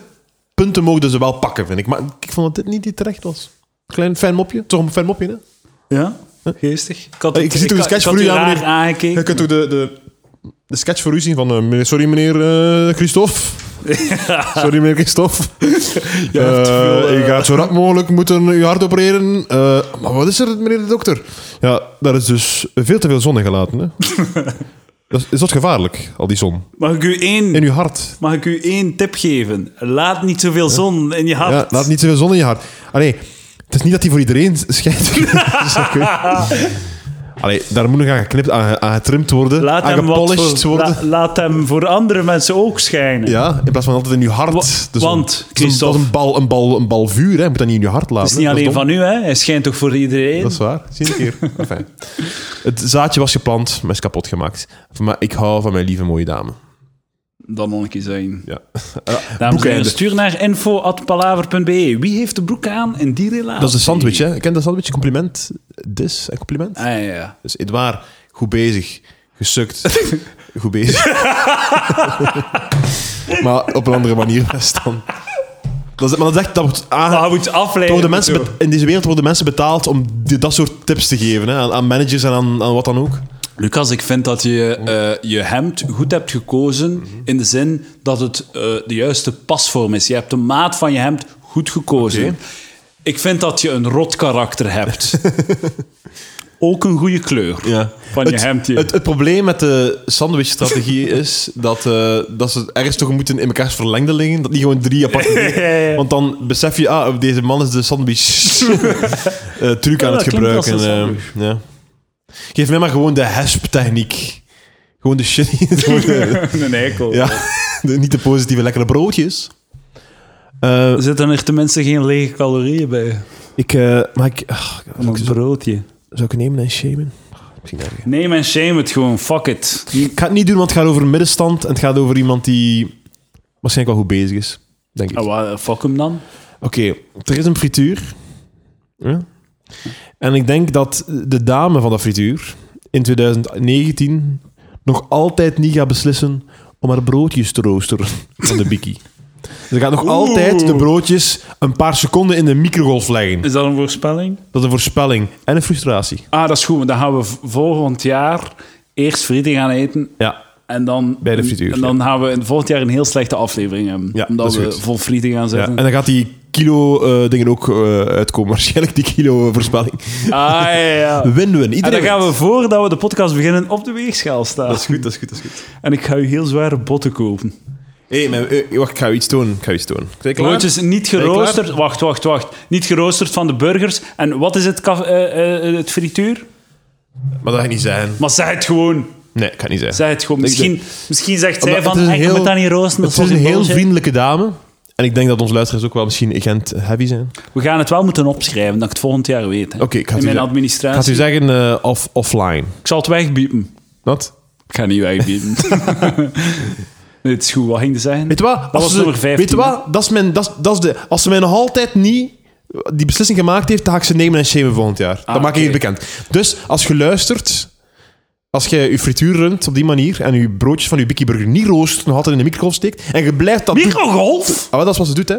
Speaker 1: punten mogen ze wel pakken, vind ik. Maar ik vond dat dit niet die terecht was. Klein fijn mopje. Toch een fijn mopje, hè?
Speaker 2: Ja? Geestig. Ik, had
Speaker 1: Eh, Ik zie toch een sketch voor u,
Speaker 2: aan
Speaker 1: ja,
Speaker 2: meneer.
Speaker 1: meneer. Je kunt ook de, de, de sketch voor u zien van... eh, meneer- sorry, meneer eh, Christophe. Sorry, meneer Christophe.
Speaker 2: hebt
Speaker 1: Eh,
Speaker 2: veel, eh,
Speaker 1: je gaat zo rap mogelijk moeten uw hart opereren. Eh, maar wat is er, meneer de dokter? Ja, daar is dus veel te veel zon in gelaten. Hè? dat is, is dat gevaarlijk, al die zon?
Speaker 2: Mag ik u één...
Speaker 1: In uw hart.
Speaker 2: Mag ik u één tip geven? Laat niet zoveel zon in je hart.
Speaker 1: Ja, laat niet te veel zon in je hart. Allee, het is niet dat die voor iedereen schijnt. Dat is oké. Allee, daar moet nog aan geknipt, aan, ge- aan getrimd worden.
Speaker 2: Laat
Speaker 1: aan
Speaker 2: hem, wat
Speaker 1: gepolished
Speaker 2: voor,
Speaker 1: worden.
Speaker 2: la- laat hem voor andere mensen ook schijnen.
Speaker 1: Ja, in plaats van altijd in je hart.
Speaker 2: Wa-
Speaker 1: Dus een-
Speaker 2: want,
Speaker 1: dat is een-
Speaker 2: Christophe-
Speaker 1: dat is een bal, een, bal, een bal vuur, hè. je moet dat niet in je hart laten.
Speaker 2: Het is niet
Speaker 1: hè.
Speaker 2: alleen
Speaker 1: dat dom.
Speaker 2: van u, hè? Hij schijnt toch voor iedereen?
Speaker 1: Dat is waar, zie je een keer. Enfin. Het zaadje was geplant, maar is kapot gemaakt. Maar ik hou van mijn lieve mooie dame.
Speaker 2: Dan nog een keer zijn.
Speaker 1: Ja.
Speaker 2: Dames en heren,
Speaker 1: Boekeinde.
Speaker 2: stuur naar info.palaver.be. Wie heeft de broek aan in die relatie?
Speaker 1: Dat is de sandwich, hè? Ken je dat sandwich? Compliment, dis en compliment.
Speaker 2: Ah, ja, ja.
Speaker 1: Dus Edouard, goed bezig. Gesukt. goed bezig. maar op een andere manier best dan. Dat is, maar dat is echt, dat wordt aange-
Speaker 2: Maar je moet Ah, afleiden.
Speaker 1: Worden mensen
Speaker 2: zo.
Speaker 1: be- in deze wereld worden mensen betaald om die- dat soort tips te geven hè? Aan, aan managers en aan, aan wat dan ook.
Speaker 2: Lucas, ik vind dat je eh, je hemd goed hebt gekozen in de zin dat het eh, de juiste pasvorm is. Je hebt de maat van je hemd goed gekozen.
Speaker 1: Oké.
Speaker 2: Ik vind dat je een rot karakter hebt. Ook een goede kleur van je
Speaker 1: het,
Speaker 2: hemdje.
Speaker 1: Het, het probleem met de sandwich-strategie is dat, eh, dat ze ergens toch moeten in elkaars verlengde liggen. Dat niet gewoon drie aparte dingen.
Speaker 2: Ja, ja, ja.
Speaker 1: Want dan besef je, ah, deze man is de sandwich-truc aan het
Speaker 2: dat klinkt als een
Speaker 1: gebruiken. eh,
Speaker 2: sandwich.
Speaker 1: ja. Geef mij maar gewoon de hesp-techniek. Gewoon de shitty.
Speaker 2: een eikel.
Speaker 1: ja, de- niet de positieve, lekkere broodjes. Eh,
Speaker 2: Zitten er tenminste geen lege calorieën bij?
Speaker 1: ik, eh, maar ik, ah,
Speaker 2: Van het broodje.
Speaker 1: zou ik nemen en shamen? Misschien erger.
Speaker 2: Nee, men shame het gewoon. Fuck it.
Speaker 1: Ik ga het niet doen, want het gaat over middenstand en het gaat over iemand die waarschijnlijk wel goed bezig is, denk ik.
Speaker 2: Ah, wa- fuck hem dan.
Speaker 1: Oké, er is een frituur. Ja. En ik denk dat de dame van dat frituur in 2019 nog altijd niet gaat beslissen om haar broodjes te roosteren van de bikkie. Ze gaat nog altijd de broodjes een paar seconden in de microgolf leggen.
Speaker 2: Is dat een voorspelling?
Speaker 1: Dat is een voorspelling en een frustratie.
Speaker 2: Ah, dat is goed. maar Dan gaan we v- volgend jaar eerst frieten gaan eten
Speaker 1: Ja,
Speaker 2: En dan,
Speaker 1: Bij de frituur,
Speaker 2: En dan gaan we in volgend jaar een heel slechte aflevering hebben.
Speaker 1: Ja,
Speaker 2: omdat
Speaker 1: dat is
Speaker 2: we
Speaker 1: goed.
Speaker 2: vol frieten gaan
Speaker 1: ja.
Speaker 2: zetten.
Speaker 1: En dan gaat die kilo eh, dingen ook eh, uitkomen. Waarschijnlijk die kilo eh, voorspelling.
Speaker 2: Ah, ja, ja.
Speaker 1: Win-win.
Speaker 2: En
Speaker 1: Iedereen
Speaker 2: Ah, dan gaan
Speaker 1: wint.
Speaker 2: we voordat we de podcast beginnen op de weegschaal staan.
Speaker 1: Dat is goed, dat is goed, dat is goed.
Speaker 2: En ik ga u heel zware botten kopen.
Speaker 1: Hé, mijn- eh, wacht, ik ga u iets tonen. Ik ga u iets tonen. Zijn klaar?
Speaker 2: Broodjes niet
Speaker 1: je klaar?
Speaker 2: geroosterd. Wacht, wacht, wacht. Niet geroosterd van de burgers. En wat is het, kaf- eh, eh, het frituur?
Speaker 1: Maar dat ga ik niet zijn.
Speaker 2: Maar zeg het gewoon.
Speaker 1: Nee, ik ga het niet zijn.
Speaker 2: Zeg het gewoon.
Speaker 1: Ik
Speaker 2: Misschien, misschien zegt zij
Speaker 1: Omdat
Speaker 2: van,
Speaker 1: het is een
Speaker 2: hey, je
Speaker 1: heel-
Speaker 2: moet dat niet roosteren.
Speaker 1: Het
Speaker 2: Dat is
Speaker 1: is een heel
Speaker 2: bullshit.
Speaker 1: vriendelijke dame. En ik denk dat onze luisteraars ook wel misschien agent heavy zijn. Oké,
Speaker 2: We gaan het wel moeten opschrijven, dat ik het volgend jaar weet. hè.
Speaker 1: ik ga het
Speaker 2: In
Speaker 1: u zeggen.
Speaker 2: mijn
Speaker 1: Ik ga het
Speaker 2: administratie.
Speaker 1: u zeggen eh, off- offline.
Speaker 2: Ik zal het wegbiepen.
Speaker 1: Wat?
Speaker 2: Ik ga niet wegbieden. nee, het is goed. Wat ging er zijn?
Speaker 1: Weet je wat? Als
Speaker 2: was
Speaker 1: ze-
Speaker 2: nummer 15,
Speaker 1: Weet je wat? Dat is mijn, dat is, dat is de, als ze mij nog altijd niet eh, die beslissing
Speaker 2: Ah,
Speaker 1: gemaakt heeft, dan ga ik ze nemen en shamen volgend jaar. dat maak
Speaker 2: oké.
Speaker 1: ik hier bekend. Dus als je luistert Als jij je frituur runt op die manier en je broodjes van je Bikkie Burger niet roost, nog altijd in de microgolf steekt en je blijft dat doen...
Speaker 2: Microgolf?
Speaker 1: Ah, wel, dat is wat ze doet, hè.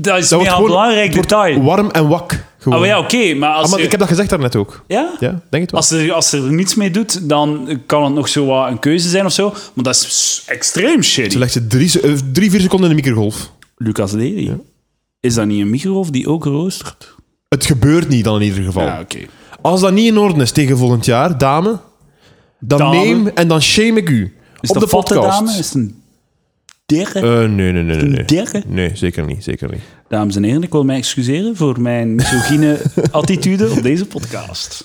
Speaker 2: Dat is
Speaker 1: Dat
Speaker 2: meer een belangrijk
Speaker 1: het wordt
Speaker 2: detail.
Speaker 1: warm en wak. Gewoon.
Speaker 2: Ah, maar ja, oké, maar als
Speaker 1: Ah, maar
Speaker 2: je-
Speaker 1: Ik heb dat gezegd daarnet ook.
Speaker 2: Ja?
Speaker 1: Ja, denk het wel.
Speaker 2: Als ze, als ze er niets mee doet, dan kan het nog zo wat een keuze zijn of zo. Maar dat is extreem
Speaker 1: Ze
Speaker 2: shitty.
Speaker 1: legt ze drie, se- eh, drie, vier seconden in de microgolf.
Speaker 2: Lucas Lely. Is dat niet een microgolf die ook roostert?
Speaker 1: Het gebeurt niet dan in ieder geval.
Speaker 2: Ja, oké.
Speaker 1: Als dat niet in orde is tegen volgend jaar, dame, dan
Speaker 2: Dame.
Speaker 1: neem en dan shame ik u.
Speaker 2: Is
Speaker 1: op
Speaker 2: dat
Speaker 1: de
Speaker 2: vatte
Speaker 1: podcast.
Speaker 2: dame? Is het een derre?
Speaker 1: Eh, nee, nee, nee, nee. nee.
Speaker 2: derre?
Speaker 1: Nee, zeker niet, zeker niet.
Speaker 2: Dames en heren, ik wil mij excuseren voor mijn misogyne attitude op deze podcast.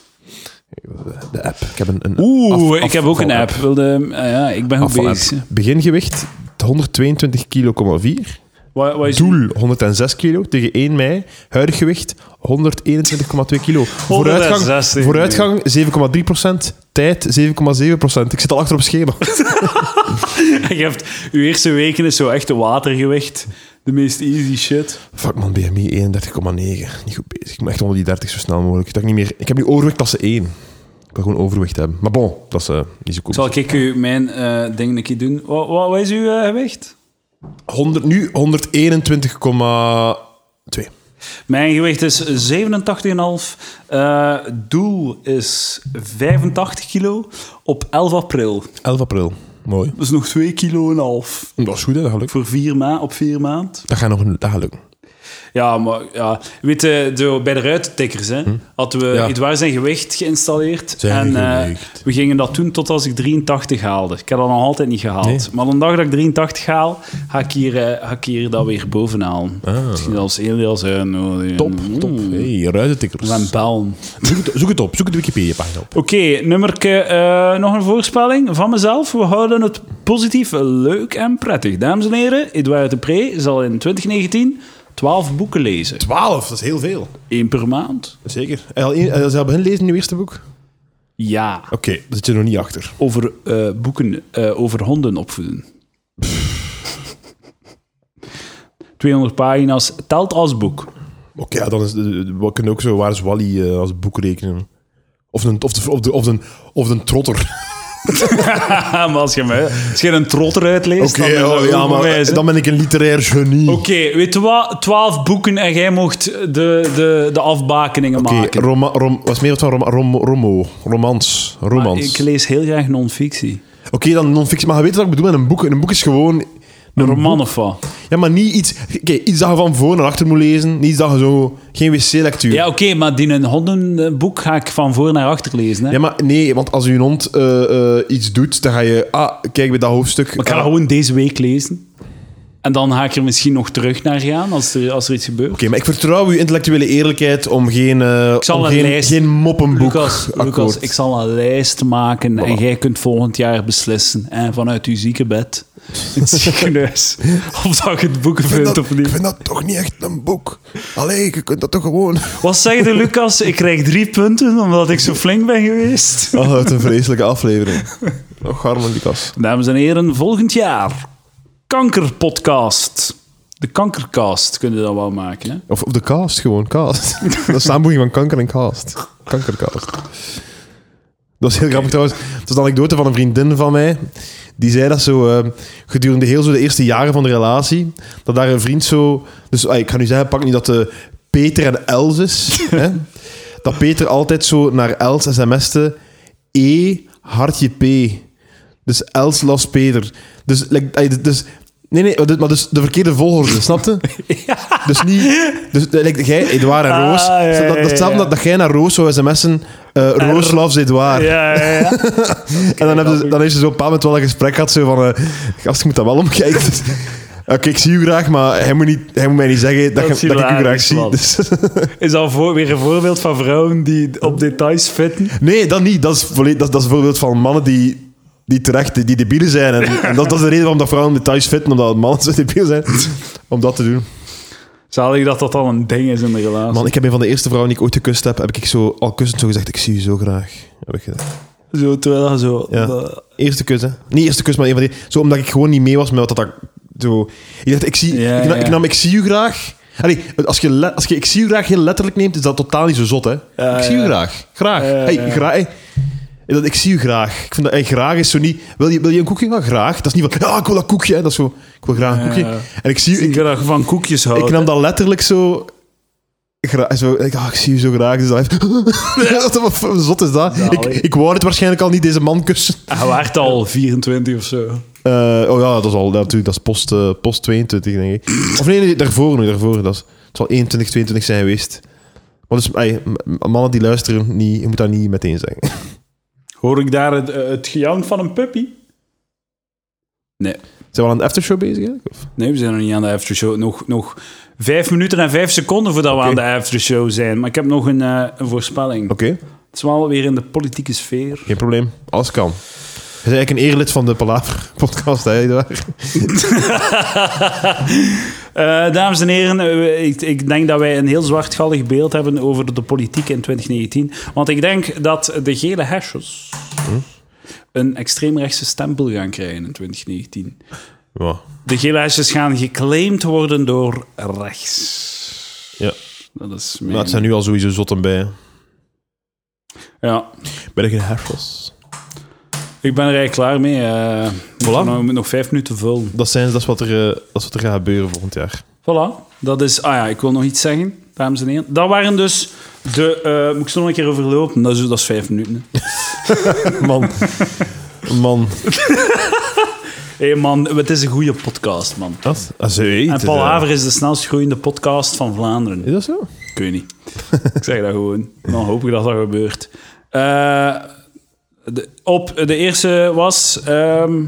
Speaker 1: De app. Ik heb een, een
Speaker 2: Oeh,
Speaker 1: af-
Speaker 2: ik heb ook een
Speaker 1: afval-app.
Speaker 2: app. Wilde, ah ja, ik ben goed
Speaker 1: Afval-app.
Speaker 2: bezig.
Speaker 1: Begingewicht 122,4 kilo,4.
Speaker 2: Wat, wat is
Speaker 1: Doel 106 kilo tegen 1 mei. Huidig gewicht 121,2 kilo. Vooruitgang,
Speaker 2: 160.
Speaker 1: vooruitgang 7,3 Tijd 7,7 Ik zit al achter op schema.
Speaker 2: Je hebt, uw eerste weken is zo echt watergewicht. De meest easy shit.
Speaker 1: Fuck man, BMI 31,9. Niet goed bezig. Ik moet echt onder die 30 zo snel mogelijk. Dat ik, niet meer... ik heb nu overgewicht klasse 1. Ik wil gewoon overwicht hebben. Maar bon, dat is eh, niet zo cool.
Speaker 2: Zal ik u mijn eh ding een keer doen? Wat, wat, wat is uw eh, gewicht?
Speaker 1: 100, nu 121,2.
Speaker 2: Mijn gewicht is 87,5. Eh, doel is 85 kilo op 11 april.
Speaker 1: 11 april. Mooi.
Speaker 2: Dus nog 2 kilo en half.
Speaker 1: Mm, Dat is goed, hè? dat gaat lukken.
Speaker 2: Voor vier ma op vier maand.
Speaker 1: Dat gaat nog dat gaat lukken.
Speaker 2: Ja, maar ja. weet je, zo bij de ruitentikkers hè, hadden we
Speaker 1: Hm? Ja.
Speaker 2: Edouard zijn gewicht geïnstalleerd.
Speaker 1: Zijn
Speaker 2: en eh,
Speaker 1: gewicht.
Speaker 2: we gingen dat doen tot als ik 83 haalde. Ik heb dat nog altijd niet gehaald.
Speaker 1: Nee.
Speaker 2: Maar een dag dat ik 83 haal, ga ik hier, eh, ga ik hier dat weer bovenhalen. Misschien als heel zijn. oh, die-
Speaker 1: Ah. Top,
Speaker 2: Mm.
Speaker 1: top. Hey, ruitentikkers.
Speaker 2: We gaan bellen.
Speaker 1: Zoek het, zoek het op, zoek de Wikipedia-pagina op.
Speaker 2: Oké, nummerke, eh, nog een voorspelling van mezelf. We houden het positief, leuk en prettig. Dames en heren, Edouard de Pre zal in 2019 12 boeken lezen.
Speaker 1: 12, dat is heel veel.
Speaker 2: Eén per maand.
Speaker 1: Zeker. Hij al, hij al begin lezen in je eerste boek? Oké,
Speaker 2: Ja.
Speaker 1: daar zit je nog niet achter.
Speaker 2: over eh, boeken eh, over honden opvoeden. 200 pagina's telt als boek.
Speaker 1: Oké, ja, dan is, we kunnen ook zo Waar is Wally eh, als boek rekenen. Of een, of de, of de, of de, of de trotter.
Speaker 2: Ah, maar als je, mij, als je een trotter uitleest,
Speaker 1: Oké, oh,
Speaker 2: dan, eh,
Speaker 1: ja, ja, maar eh, dan ben ik een literair genie.
Speaker 2: Oké, weet je wat? 12 boeken en jij mocht de, de, de afbakeningen
Speaker 1: Oké, eh,
Speaker 2: maken.
Speaker 1: roma- rom- wat is meer wat van rom, rom, romo? Romans.
Speaker 2: Maar
Speaker 1: romans.
Speaker 2: ik lees heel graag non-fictie.
Speaker 1: Oké, dan non-fictie. Maar je weet wat ik bedoel met een boek. Een boek is gewoon...
Speaker 2: Een roman of wat?
Speaker 1: Ja, maar niet iets... Oké, iets dat je van voor naar achter moet lezen. Niet iets dat je zo... Geen wc-lectuur.
Speaker 2: Ja, oké, maar die een hondenboek ga ik van voor naar achter lezen. Hè?
Speaker 1: Ja, maar nee, want als je hond eh, eh, iets doet, dan ga je... Ah, kijk bij dat hoofdstuk.
Speaker 2: Maar ik ga
Speaker 1: ah,
Speaker 2: dat gewoon deze week lezen. En dan ga ik er misschien nog terug naar gaan als er, als er iets gebeurt.
Speaker 1: Oké, maar ik vertrouw uw intellectuele eerlijkheid om geen, eh
Speaker 2: zal
Speaker 1: om
Speaker 2: een
Speaker 1: geen,
Speaker 2: lijst-
Speaker 1: geen moppenboek
Speaker 2: Lucas,
Speaker 1: akkoord.
Speaker 2: Lucas, ik zal een lijst maken en jij kunt volgend jaar beslissen. En vanuit uw zieke bed in het ziekenhuis. of dat je het boeken vindt of niet.
Speaker 1: dat toch niet echt een boek. Allee, je kunt dat toch gewoon...
Speaker 2: Wat zeg je, Lucas? Ik krijg drie punten omdat ik zo flink ben geweest.
Speaker 1: Oh, wat een vreselijke aflevering. Och, arme Lucas.
Speaker 2: Dames en heren, volgend jaar. Kankerpodcast. De kankercast kunnen we dat wel maken. Hè?
Speaker 1: Of, of de cast, gewoon, cast. dat is samenvoeging van kanker en cast. Kankercast. Dat is heel grappig trouwens. Het was een anekdote van een vriendin van mij. Die zei dat zo eh, gedurende heel zo de eerste jaren van de relatie, dat daar een vriend zo... Dus ah, ik ga nu zeggen, pak niet dat de Peter en Els is. hè, dat Peter altijd zo naar Els sms'te E hartje P. Dus Els las Peter. Dus, like, ah, dus nee, nee, dit- maar dus de verkeerde volgorde, snapte? Dus niet... Dus eh, like, jij, Edouard en
Speaker 2: Ah,
Speaker 1: Roos,
Speaker 2: ja, ja,
Speaker 1: dat, dat,
Speaker 2: ja,
Speaker 1: hetzelfde
Speaker 2: ja.
Speaker 1: dat, dat jij naar Roos zou sms'en, eh Roos loves Edouard.
Speaker 2: Ja, ja, ja.
Speaker 1: En dan, hebben ze, dan heeft ze zo'n paar moment wel een gesprek gehad. Zo van, eh gast, ik moet dat wel omkijken. Dus, Oké, ik zie u graag, maar hij moet, niet, hij moet mij niet zeggen dat,
Speaker 2: Dat
Speaker 1: je-
Speaker 2: is
Speaker 1: dat ik u graag
Speaker 2: hilarisch,
Speaker 1: zie.
Speaker 2: man.
Speaker 1: Dus,
Speaker 2: Is al voor, weer een voorbeeld van vrouwen die op details fitten?
Speaker 1: nee, dat niet. Dat is, volle- dat, dat is een voorbeeld van mannen die, die terecht, die, die debielen zijn. En, en dat, dat is de reden waarom dat vrouwen details fitten, omdat mannen zo debiel zijn. Om dat te doen.
Speaker 2: Zalig dat dat al een ding is in de relatie.
Speaker 1: Man, ik heb een van de eerste vrouwen die ik ooit gekust heb, heb ik zo al kussend zo gezegd, ik zie u zo graag. Heb ik gedaan.
Speaker 2: Zo, terwijl je zo...
Speaker 1: Ja. Eerste kus, hè? Niet eerste kus, maar een van die. Zo omdat ik gewoon niet mee was met wat dat. Zo. Ik dacht, ik zie,
Speaker 2: Ja,
Speaker 1: ik, na-
Speaker 2: ja.
Speaker 1: ik nam ik zie u graag. Allee, als je, le- als je ik zie u graag heel letterlijk neemt, is dat totaal niet zo zot, hè?
Speaker 2: Ja,
Speaker 1: ik zie u
Speaker 2: ja.
Speaker 1: graag. Graag.
Speaker 2: Ja, ja,
Speaker 1: hey,
Speaker 2: ja.
Speaker 1: graag. hey. Dat, ik zie u graag. Ik vind dat, en graag is zo niet... Wil je, wil je een koekje? Wel, graag. Dat is niet van, ja, ik wil dat koekje. hè. Dat is zo, ik wil graag een
Speaker 2: Ja.
Speaker 1: koekje. En ik zie u...
Speaker 2: Ik
Speaker 1: Ik,
Speaker 2: graag van koekjes houden.
Speaker 1: ik nam dat letterlijk zo... gra- zo ik, ah, ik zie u zo graag. Dus dat heeft- Wat voor zot is dat? Ik,
Speaker 2: Zalig.
Speaker 1: ik wou het waarschijnlijk al niet, deze man kussen.
Speaker 2: Hij waart al 24 of zo.
Speaker 1: Eh, oh ja, dat is al dat natuurlijk, dat is post, eh, post 22, denk ik. Of nee, nee, daarvoor nu, daarvoor. Dat is, het zal 21, 22 zijn geweest. Maar dus, ey, m- mannen die luisteren, niet, je moet dat niet meteen zeggen.
Speaker 2: Hoor ik daar het, eh, het gejank van een puppy? Nee.
Speaker 1: Zijn we al aan de aftershow bezig eigenlijk? Of?
Speaker 2: Nee, we zijn nog niet aan de aftershow. Nog, nog vijf minuten en vijf seconden voordat we
Speaker 1: Oké.
Speaker 2: aan de aftershow zijn. Maar ik heb nog een, eh, een voorspelling.
Speaker 1: Oké,
Speaker 2: Het is wel weer in de politieke sfeer.
Speaker 1: geen probleem. Alles kan. Je bent eigenlijk een eerlid van de Palaver-podcast, hè? nietwaar?
Speaker 2: Eh, dames en heren, eh, ik, ik denk dat wij een heel zwartgallig beeld hebben over de politiek in 2019. Want ik denk dat de gele hesjes
Speaker 1: Hm?
Speaker 2: een extreemrechtse stempel gaan krijgen in 2019.
Speaker 1: Ja.
Speaker 2: De gele hesjes gaan geclaimd worden door rechts.
Speaker 1: ja.
Speaker 2: Dat is
Speaker 1: Maar
Speaker 2: mijn...
Speaker 1: het zijn nu al sowieso zotten bij.
Speaker 2: Ja,
Speaker 1: Ben ik geen herfels?
Speaker 2: ik ben er eigenlijk klaar mee. eh moeten we nog- we moeten nog vijf minuten vullen.
Speaker 1: Dat, zijn, dat, is wat er, eh, dat is wat er gaat gebeuren volgend jaar.
Speaker 2: Voilà, dat is... Ah ja, ik wil nog iets zeggen, dames en heren. Dat waren dus de... eh, moet ik ze nog een keer overlopen? Dat is, dat is vijf minuten. hè.
Speaker 1: Man. Man.
Speaker 2: Hé man, het is een goede podcast, man.
Speaker 1: Wat? Ah, zo, hey,
Speaker 2: En
Speaker 1: het is, eh,
Speaker 2: Palaver is de snelst groeiende podcast van Vlaanderen.
Speaker 1: Is dat zo?
Speaker 2: Ik weet niet. ik zeg dat gewoon. Dan hoop ik dat dat gebeurt. Eh, de, op, de eerste was... ehm,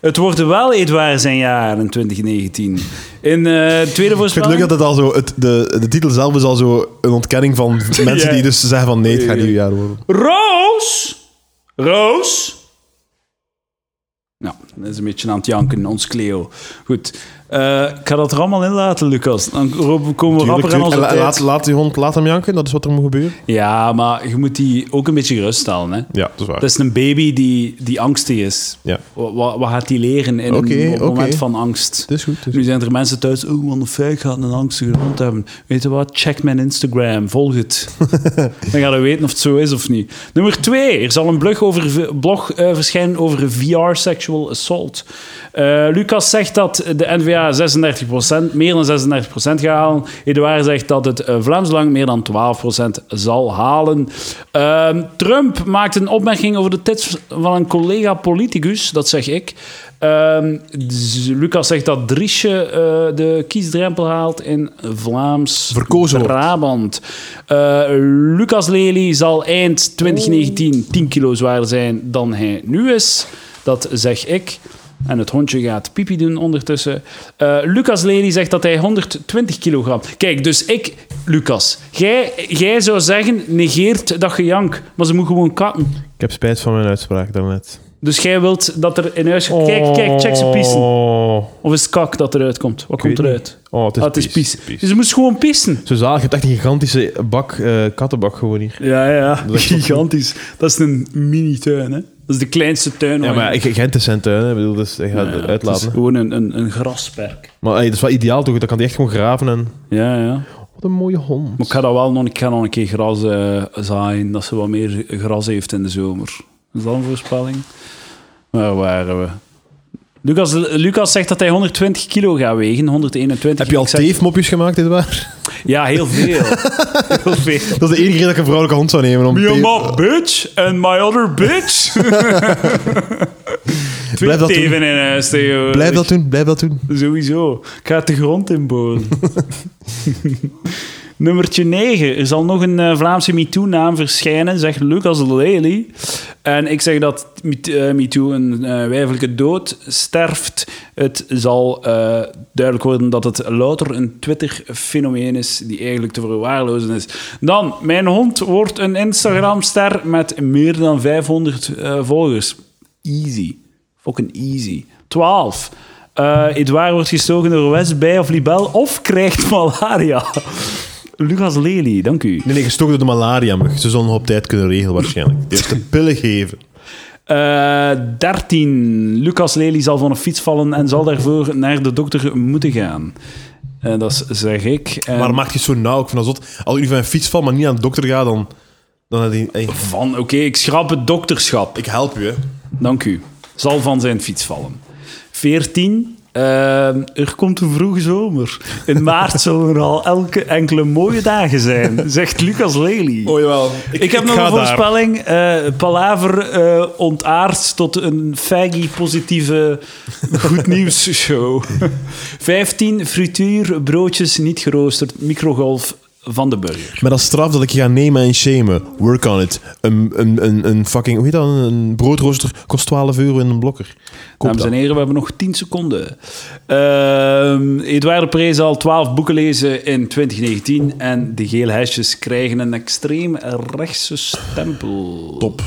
Speaker 2: het wordt wel Edouard zijn jaar in 2019. In eh, de tweede
Speaker 1: Ik vind
Speaker 2: voorspelling...
Speaker 1: het leuk dat het al zo, het, de, de titel zelf is al zo een ontkenning van mensen
Speaker 2: Ja.
Speaker 1: die dus zeggen van nee, het gaat
Speaker 2: Ja.
Speaker 1: nieuw jaar worden.
Speaker 2: Roos! Roos! Nou, dat is een beetje aan het janken, ons Cleo. Goed. Eh, ik ga dat er allemaal in laten, Lucas. Dan ro- komen we rapper aan
Speaker 1: Tuurlijk,
Speaker 2: onze
Speaker 1: tuurlijk. En
Speaker 2: tijd.
Speaker 1: la- laat, laat die hond, laat hem janken, dat is wat er moet gebeuren.
Speaker 2: Ja, maar je moet die ook een beetje geruststellen. Hè?
Speaker 1: Ja, dat is waar.
Speaker 2: Dat is een baby die, die angstig is.
Speaker 1: Ja.
Speaker 2: Wa- wa- Wat, gaat die leren in
Speaker 1: Oké,
Speaker 2: een mo-
Speaker 1: oké.
Speaker 2: moment van angst?
Speaker 1: Het is goed, het is
Speaker 2: nu zijn er mensen thuis, oh man, de fuik gaat een angstige hond hebben. Weet je wat, check mijn Instagram, volg het. Dan gaan we weten of het zo is of niet. Nummer twee, er zal een blog, over, v- blog eh, verschijnen over VR sexual assault. Eh, Lucas zegt dat de NVA 36%, meer dan 36% gaat halen. Edouard zegt dat het eh, Vlaams Belang meer dan 12% zal halen. Ehm, Trump maakt een opmerking over de tits van een collega politicus, dat zeg ik. Ehm, z- Lucas zegt dat Driesje eh, de kiesdrempel haalt in Vlaams
Speaker 1: Verkozen wordt.
Speaker 2: Brabant. Eh, Lucas Lely zal eind 2019 10 kilo zwaarder zijn dan hij nu is. Dat zeg ik. En het hondje gaat pipi doen ondertussen. Eh, Lucas Lely zegt dat hij 120 kilogram... Kijk, dus ik, Lucas, jij, jij zou zeggen, negeert dat gejank. Maar ze moet gewoon katten.
Speaker 1: Ik heb spijt van mijn uitspraak daarnet.
Speaker 2: Dus jij wilt dat er in huis... Kijk, kijk, check ze pissen.
Speaker 1: Oh,
Speaker 2: Of is het kak dat eruit komt? Wat komt
Speaker 1: weet
Speaker 2: eruit?
Speaker 1: oh het is,
Speaker 2: Ah, het is
Speaker 1: pies.
Speaker 2: pies. Dus ze moest gewoon pissen.
Speaker 1: Zo zalig, je hebt echt een gigantische bak, eh, kattenbak gewoon hier.
Speaker 2: Ja, ja.
Speaker 1: is echt
Speaker 2: Gigantisch. Dat is een mini-tuin, hè. Dat is de kleinste tuin.
Speaker 1: Ja,
Speaker 2: waar
Speaker 1: maar
Speaker 2: je-
Speaker 1: G- Gent is zijn tuin, hè. Ik bedoel, dus ik ga
Speaker 2: Ja,
Speaker 1: het
Speaker 2: het
Speaker 1: uitlaten.
Speaker 2: is gewoon een, een, een grasperk.
Speaker 1: Maar hey, dat is wel ideaal toch, dan kan die echt gewoon graven en...
Speaker 2: Ja, ja.
Speaker 1: Wat een mooie hond.
Speaker 2: Maar ik ga dat wel nog, ik ga nog een keer gras eh, zaaien, dat ze wat meer gras heeft in de zomer. Is dat een voorspelling? Nou, Waar waren we? Lucas, Lucas zegt dat hij 120 kilo gaat wegen, 121.
Speaker 1: Heb je al
Speaker 2: Ik zeg-
Speaker 1: teefmopjes gemaakt, dit waar?
Speaker 2: Ja, heel veel. heel veel.
Speaker 1: Dat is de enige reden dat ik een vrouwelijke hond zou nemen. Om teef-
Speaker 2: bitch and my other bitch. Twee
Speaker 1: Blijf dat doen.
Speaker 2: teven in huis tegenwoordig.
Speaker 1: Blijf dat doen, blijf dat doen.
Speaker 2: Sowieso. Ik ga het de grond inboren. Nummertje 9. Er zal nog een eh, Vlaamse MeToo-naam verschijnen, zegt Lucas Lely. En ik zeg dat Met- eh, MeToo een eh wijfelijke dood sterft. Het zal eh, duidelijk worden dat het louter een Twitter-fenomeen is die eigenlijk te verwaarlozen is. Dan, mijn hond wordt een Instagram-ster met meer dan 500 eh, volgers. Easy. Fucking easy. 12. Eh Edouard wordt gestoken door West bij of Libel of krijgt malaria. Lucas Lely, dank u.
Speaker 1: Nee, nee, gestoken door de malaria-mug. Ze zullen nog op tijd kunnen regelen, waarschijnlijk. Die heeft de pillen geven.
Speaker 2: Eh 13. Lucas Lely zal van een fiets vallen en zal daarvoor naar de dokter moeten gaan. Eh, dat zeg ik. En-
Speaker 1: Maar maak je het zo nauw? Ik vind dat zot. Als ik nu van een fiets val, maar niet aan de dokter ga, dan Dan had hij... hey,
Speaker 2: Van, oké, ik schrap het dokterschap.
Speaker 1: ik help u, hè.
Speaker 2: Dank u. Zal van zijn fiets vallen. 14. Ehm, er komt een vroege zomer. In maart zullen er al elke enkele mooie dagen zijn, zegt Lucas Lely.
Speaker 1: Oh, jawel.
Speaker 2: ik, heb nog
Speaker 1: ga
Speaker 2: een
Speaker 1: daar.
Speaker 2: voorspelling. eh Palaver eh ontaart tot een faggy positieve goed nieuws show. 15. Frituur, broodjes niet geroosterd, microgolf van de burger.
Speaker 1: Met als straf dat ik je ga nemen en shamen. Work on it. Een, een, een, een fucking... Hoe heet dat? Een broodrooster kost 12 euro in een blokker. Koop
Speaker 2: Dames en
Speaker 1: dat.
Speaker 2: heren, we hebben nog 10 seconden. Ehm Eduardo Perez zal 12 boeken lezen in 2019 en de gele hesjes krijgen een extreem rechtse stempel.
Speaker 1: Top.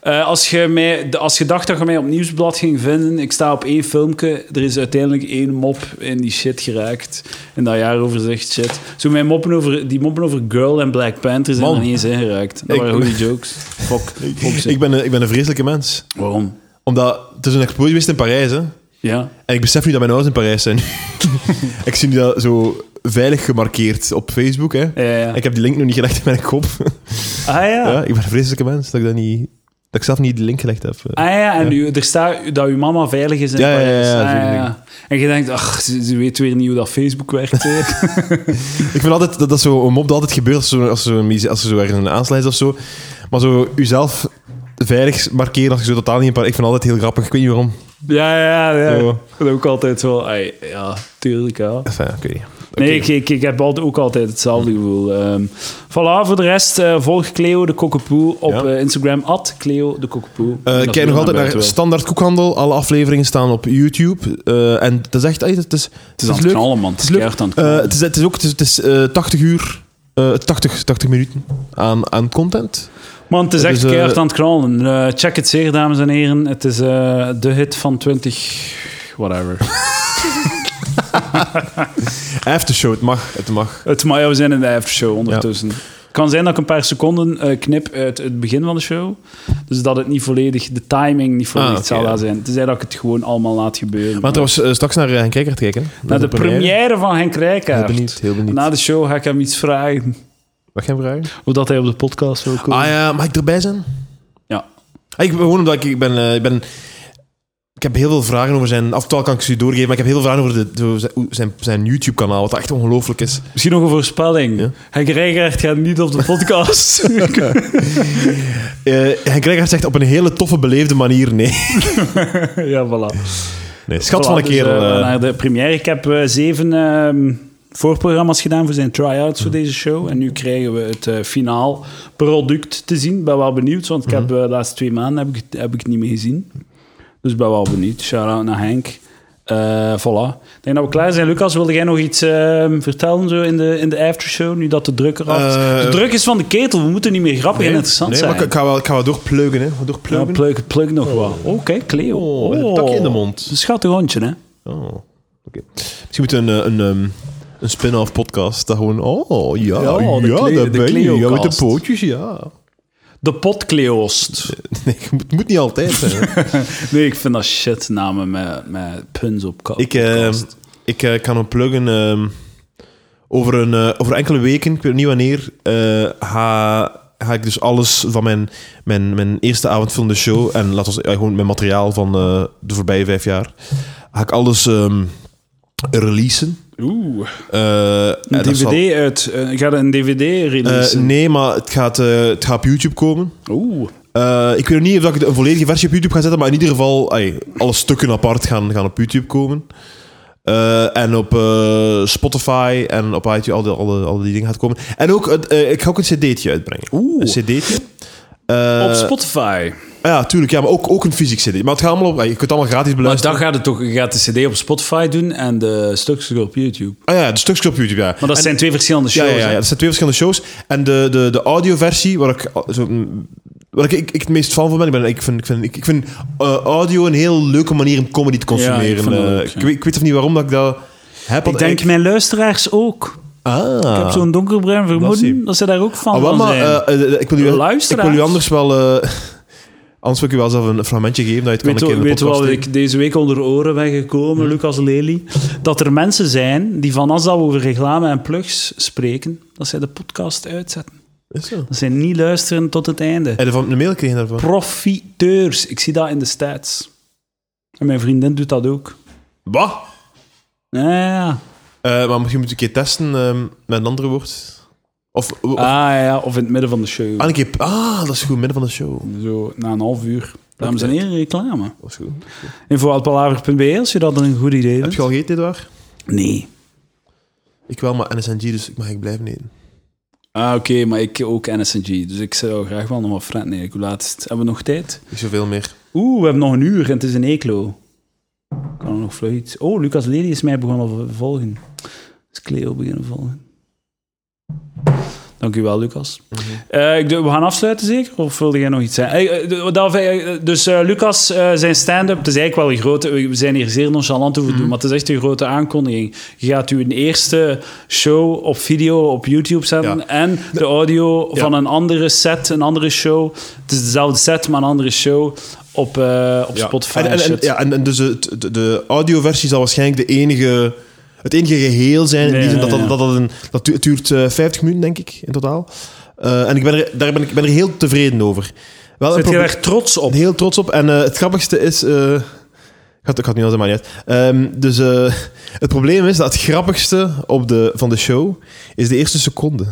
Speaker 2: Eh, als, je mij, de- als je dacht dat je mij op Nieuwsblad ging vinden, ik sta op één filmpje. Er is uiteindelijk één mop in die shit geraakt. In dat jaaroverzicht shit. Zo mijn moppen over, die moppen over Girl en Black Panther zijn
Speaker 1: Man.
Speaker 2: er niet eens in geraakt. Dat
Speaker 1: Ik-
Speaker 2: waren goede jokes. Fuck. Fuck ze.
Speaker 1: Ik ben, een, ik ben een vreselijke mens.
Speaker 2: Waarom?
Speaker 1: Omdat... Het is een explosie geweest in Parijs, hè.
Speaker 2: Ja.
Speaker 1: En ik besef nu dat mijn ouders in Parijs zijn. ik zie nu dat zo veilig gemarkeerd op Facebook. Hè.
Speaker 2: Ja, ja.
Speaker 1: Ik heb die link nog niet gelegd in mijn kop.
Speaker 2: Ah
Speaker 1: ja. ik ben een vreselijke mens dus dat ik, dat niet, dat ik zelf niet die link gelegd heb.
Speaker 2: Ah ja, en u, er staat dat uw mama veilig is in
Speaker 1: Ja, ja, ja,
Speaker 2: Parijs.
Speaker 1: ja,
Speaker 2: Ah,
Speaker 1: zo'n ding.
Speaker 2: En je denkt, ach, ze, ze weet weer niet hoe dat Facebook werkt. hè.
Speaker 1: Ik vind altijd dat dat zo een mop dat altijd gebeurt als ze als zo, als ze zo ergens een aansluit of zo. Maar zo uzelf veilig markeren als je zo totaal niet in Parijs... Ik vind het altijd heel grappig, ik weet niet waarom.
Speaker 2: ja, ja, ja.
Speaker 1: Zo.
Speaker 2: Dat ook altijd wel. ai, ja, tuurlijk, ja.
Speaker 1: Enfin, ja, ik weet niet. Eh,
Speaker 2: Nee, ik, ik, ik heb altijd, ook altijd hetzelfde gevoel. Ehm voilà, voor de rest, eh, volg Cleo de Kokkepoe op
Speaker 1: Ja.
Speaker 2: eh, Instagram, at Cleo de Kokkepoe.
Speaker 1: Eh,
Speaker 2: Dat
Speaker 1: kijk nog
Speaker 2: wil
Speaker 1: altijd naar
Speaker 2: buiten wel.
Speaker 1: Standaard Koekhandel. Alle afleveringen staan op YouTube. Eh, en dat is echt... ey, Het is, het
Speaker 2: Het is aan het
Speaker 1: leuk.
Speaker 2: knallen, man. Het is
Speaker 1: leuk.
Speaker 2: keihard aan het
Speaker 1: Eh,
Speaker 2: knallen.
Speaker 1: het, is, het is ook het is, het is, eh, 80 uur, eh 80, 80 minuten aan, aan content.
Speaker 2: Man, het is
Speaker 1: het
Speaker 2: echt
Speaker 1: is, eh,
Speaker 2: keihard aan het knallen. Eh, check het zeer, dames en heren. Het is eh, de hit van 20... Whatever.
Speaker 1: Aftershow, het mag. Het mag.
Speaker 2: Het, maar ja, we zijn in de aftershow ondertussen. Het kan zijn dat ik een paar seconden eh, knip uit het begin van de show. Dus dat het niet volledig, de timing niet volledig
Speaker 1: Ah, oké,
Speaker 2: zal
Speaker 1: ja.
Speaker 2: zijn. Het is dat ik het gewoon allemaal laat gebeuren.
Speaker 1: Maar trouwens, eh, straks naar eh, Henk Kijker kijken. hè.
Speaker 2: naar de, première van Henk
Speaker 1: Heel
Speaker 2: Rijkaard.
Speaker 1: benieuwd, heel benieuwd.
Speaker 2: Na de show ga ik hem iets vragen.
Speaker 1: Mag jij hem vragen?
Speaker 2: Hoe dat hij op de podcast wil komen.
Speaker 1: Ah ja, mag ik erbij zijn?
Speaker 2: Ja.
Speaker 1: Ah, ik, gewoon omdat ik, ik ben... eh, ik ben ik heb heel veel vragen over zijn... Af en toe kan ik ze u doorgeven, maar ik heb heel veel vragen over de, de- zijn- hoe- zijn, zijn YouTube-kanaal, wat echt ongelooflijk is.
Speaker 2: Misschien nog een voorspelling.
Speaker 1: Ja.
Speaker 2: Henk Rijkaard gaat niet op de podcast.
Speaker 1: Eh Henk Rijkaard zegt op een hele toffe, beleefde manier nee.
Speaker 2: ja, voilà.
Speaker 1: nee schat van een
Speaker 2: Voilà, dus,
Speaker 1: kerel.
Speaker 2: eh,
Speaker 1: eh.
Speaker 2: naar de première. Ik heb eh, zeven ehm, voorprogramma's gedaan voor zijn try-outs
Speaker 1: Hmm.
Speaker 2: voor deze show. En nu krijgen we het eh, finaal product te zien. Ik ben wel benieuwd, want ik heb,
Speaker 1: Hmm.
Speaker 2: eh, de laatste twee maanden heb ik, het- heb ik het niet meer gezien. Dus ik ben wel benieuwd. Shout-out naar Henk. Eh, voilà. Ik denk dat we klaar zijn. Lucas, wilde jij nog iets ehm, vertellen zo in, de, in de aftershow, nu dat de druk eraf is?
Speaker 1: Eh,
Speaker 2: de druk is van de ketel. We moeten niet meer grappig en interessant
Speaker 1: nee,
Speaker 2: zijn.
Speaker 1: maar ik, ik ga wel, ik ga wel doorpleugen, hè. Wat
Speaker 2: ja,
Speaker 1: Doorpleugen?
Speaker 2: pluk, pluk nog wel. Oké, Cleo.
Speaker 1: Oh, met een takje in de mond.
Speaker 2: Een schattig hondje, hè?
Speaker 1: Oh, oké. Misschien moeten we een, eh, een, ehm, een spin-off podcast. Dat gewoon, oh ja, ja,
Speaker 2: Ja, de Cleo-
Speaker 1: daar
Speaker 2: de
Speaker 1: ben je. Ja, met de
Speaker 2: Cleocast.
Speaker 1: pootjes, ja.
Speaker 2: De potkleoost.
Speaker 1: Nee, het moet niet altijd zijn. hè.
Speaker 2: Nee, ik vind dat shit namen met, met puns op kop.
Speaker 1: ik eh, ik eh, kan hem pluggen. ehm, over, een, eh, over enkele weken, ik weet niet wanneer, eh, ga, ga ik dus alles van mijn, mijn, mijn eerste avond van de show en laat ons, ja, gewoon mijn materiaal van eh, de voorbije vijf jaar, ga ik alles ehm, releasen.
Speaker 2: Oeh.
Speaker 1: Eh,
Speaker 2: Een
Speaker 1: en dat zal-
Speaker 2: DVD uit. eh, ga je een DVD
Speaker 1: Eh,
Speaker 2: releasen?
Speaker 1: nee, maar het gaat, eh, het gaat op YouTube komen.
Speaker 2: Oeh.
Speaker 1: Eh, ik weet nog niet of dat ik een volledige versie op YouTube ga zetten, maar in ieder geval, ai, alle stukken apart gaan, gaan op YouTube komen. Eh, en op eh, Spotify en op iTunes, al die, alle, alle die dingen gaat komen. En ook, het, eh, ik ga ook een cd'tje uitbrengen.
Speaker 2: Oeh.
Speaker 1: Een cd'tje. Eh,
Speaker 2: op Spotify.
Speaker 1: ja, tuurlijk. Ja, maar ook, ook een fysiek cd. Maar het gaat allemaal op... ai, Je kunt het allemaal gratis
Speaker 2: Maar
Speaker 1: beluisteren.
Speaker 2: dan gaat het toch, je gaat de CD op Spotify doen en de stukjes op YouTube.
Speaker 1: Ah ja, de stukjes op YouTube, ja.
Speaker 2: Maar dat zijn twee verschillende
Speaker 1: Ja,
Speaker 2: shows.
Speaker 1: ja, ja,
Speaker 2: hè?
Speaker 1: ja, dat zijn twee verschillende shows. En de, de, de audioversie, waar ik, al- zo, mm, waar ik, ik, ik het meest fan van ben, ik, ben, ik vind, ik vind, ik, ik vind eh, audio een heel leuke manier om comedy te consumeren.
Speaker 2: Ja, ik
Speaker 1: Eh, ik,
Speaker 2: vind dat ook, ja.
Speaker 1: weet, ik weet of niet waarom dat ik dat heb.
Speaker 2: Ik
Speaker 1: want
Speaker 2: denk mijn luisteraars ook.
Speaker 1: Ah.
Speaker 2: Ik heb zo'n donkerbruin vermoeden
Speaker 1: Nassie.
Speaker 2: dat ze daar ook van,
Speaker 1: Ah, wel,
Speaker 2: van
Speaker 1: maar,
Speaker 2: zijn.
Speaker 1: eh, eh, ik, wil u, ik
Speaker 2: Luisteraars.
Speaker 1: wil u anders wel... eh, anders wil ik u wel zelf een fragmentje geven dat je het
Speaker 2: Weet,
Speaker 1: kan
Speaker 2: wel-
Speaker 1: een keer in
Speaker 2: weet
Speaker 1: de
Speaker 2: wel
Speaker 1: podcast
Speaker 2: wat
Speaker 1: steken.
Speaker 2: ik deze week onder oren ben gekomen, Lucas Lely? Dat er mensen zijn die van als dat we over reclame en plugs spreken, dat zij de podcast uitzetten.
Speaker 1: Is zo.
Speaker 2: Dat zijn niet luisteren tot het einde.
Speaker 1: Heb je van een mail gekregen daarvan?
Speaker 2: Profiteurs. Ik zie dat in de stats. En mijn vriendin doet dat ook.
Speaker 1: Wat?
Speaker 2: Ja, ja.
Speaker 1: Eh, maar misschien moet ik een keer testen ehm, met een ander woord. Of, of
Speaker 2: Ah ja, of in het midden van de show.
Speaker 1: ah, een keer, ah, dat is goed, midden van de show.
Speaker 2: Zo, na een half uur. Dames en heren, reclame.
Speaker 1: Dat is goed.
Speaker 2: In vooralpalaver.be als je dat een goed idee
Speaker 1: Heb
Speaker 2: vindt.
Speaker 1: je al gegeten, Edouard?
Speaker 2: Nee.
Speaker 1: Ik wel, maar NSNG, dus ik mag ik blijven eten.
Speaker 2: Ah, oké, maar ik ook NSNG. Dus ik zou graag wel nog wat fret nemen. Hoe laat is het? Hebben we nog tijd?
Speaker 1: Niet zoveel meer.
Speaker 2: Oeh, we hebben nog een uur en het is een eklo. Kan er nog vlug iets... Oh, Lucas Lely is mij begonnen v- volgen. Is Cleo beginnen volgen. Dank u wel, Lucas.
Speaker 1: Mhm.
Speaker 2: Eh, ik doe- we gaan afsluiten zeker? Of wilde jij nog iets zeggen? Eh, eh, d- dat- eh, dus eh, Lucas, eh, zijn stand-up, het is eigenlijk wel een grote... We zijn hier zeer nonchalant over
Speaker 1: Mhm.
Speaker 2: doen, maar het is echt een grote aankondiging. Je gaat uw eerste show op video op YouTube zetten
Speaker 1: Ja.
Speaker 2: en de audio van een andere set, een andere show. Het is dezelfde set, maar een andere show op, eh, op Spotify.
Speaker 1: En,
Speaker 2: en
Speaker 1: en, en,
Speaker 2: shit.
Speaker 1: ja, en, en dus het, de, de audioversie zal waarschijnlijk de enige, het enige geheel zijn. In
Speaker 2: Ja,
Speaker 1: die zin dat,
Speaker 2: ja,
Speaker 1: dat, dat, dat een, dat du- het duurt eh, 50 minuten, denk ik, in totaal. Eh, en ik ben, er, daar ben, ik, ik ben er heel tevreden over. Wel een
Speaker 2: Zit je
Speaker 1: proble-
Speaker 2: daar trots op?
Speaker 1: Heel trots op. En eh, het grappigste is... eh gaat, gaat nu al zijn, maar niet uit. Ehm, dus eh, het probleem is dat het grappigste op de, van de show is de eerste seconde.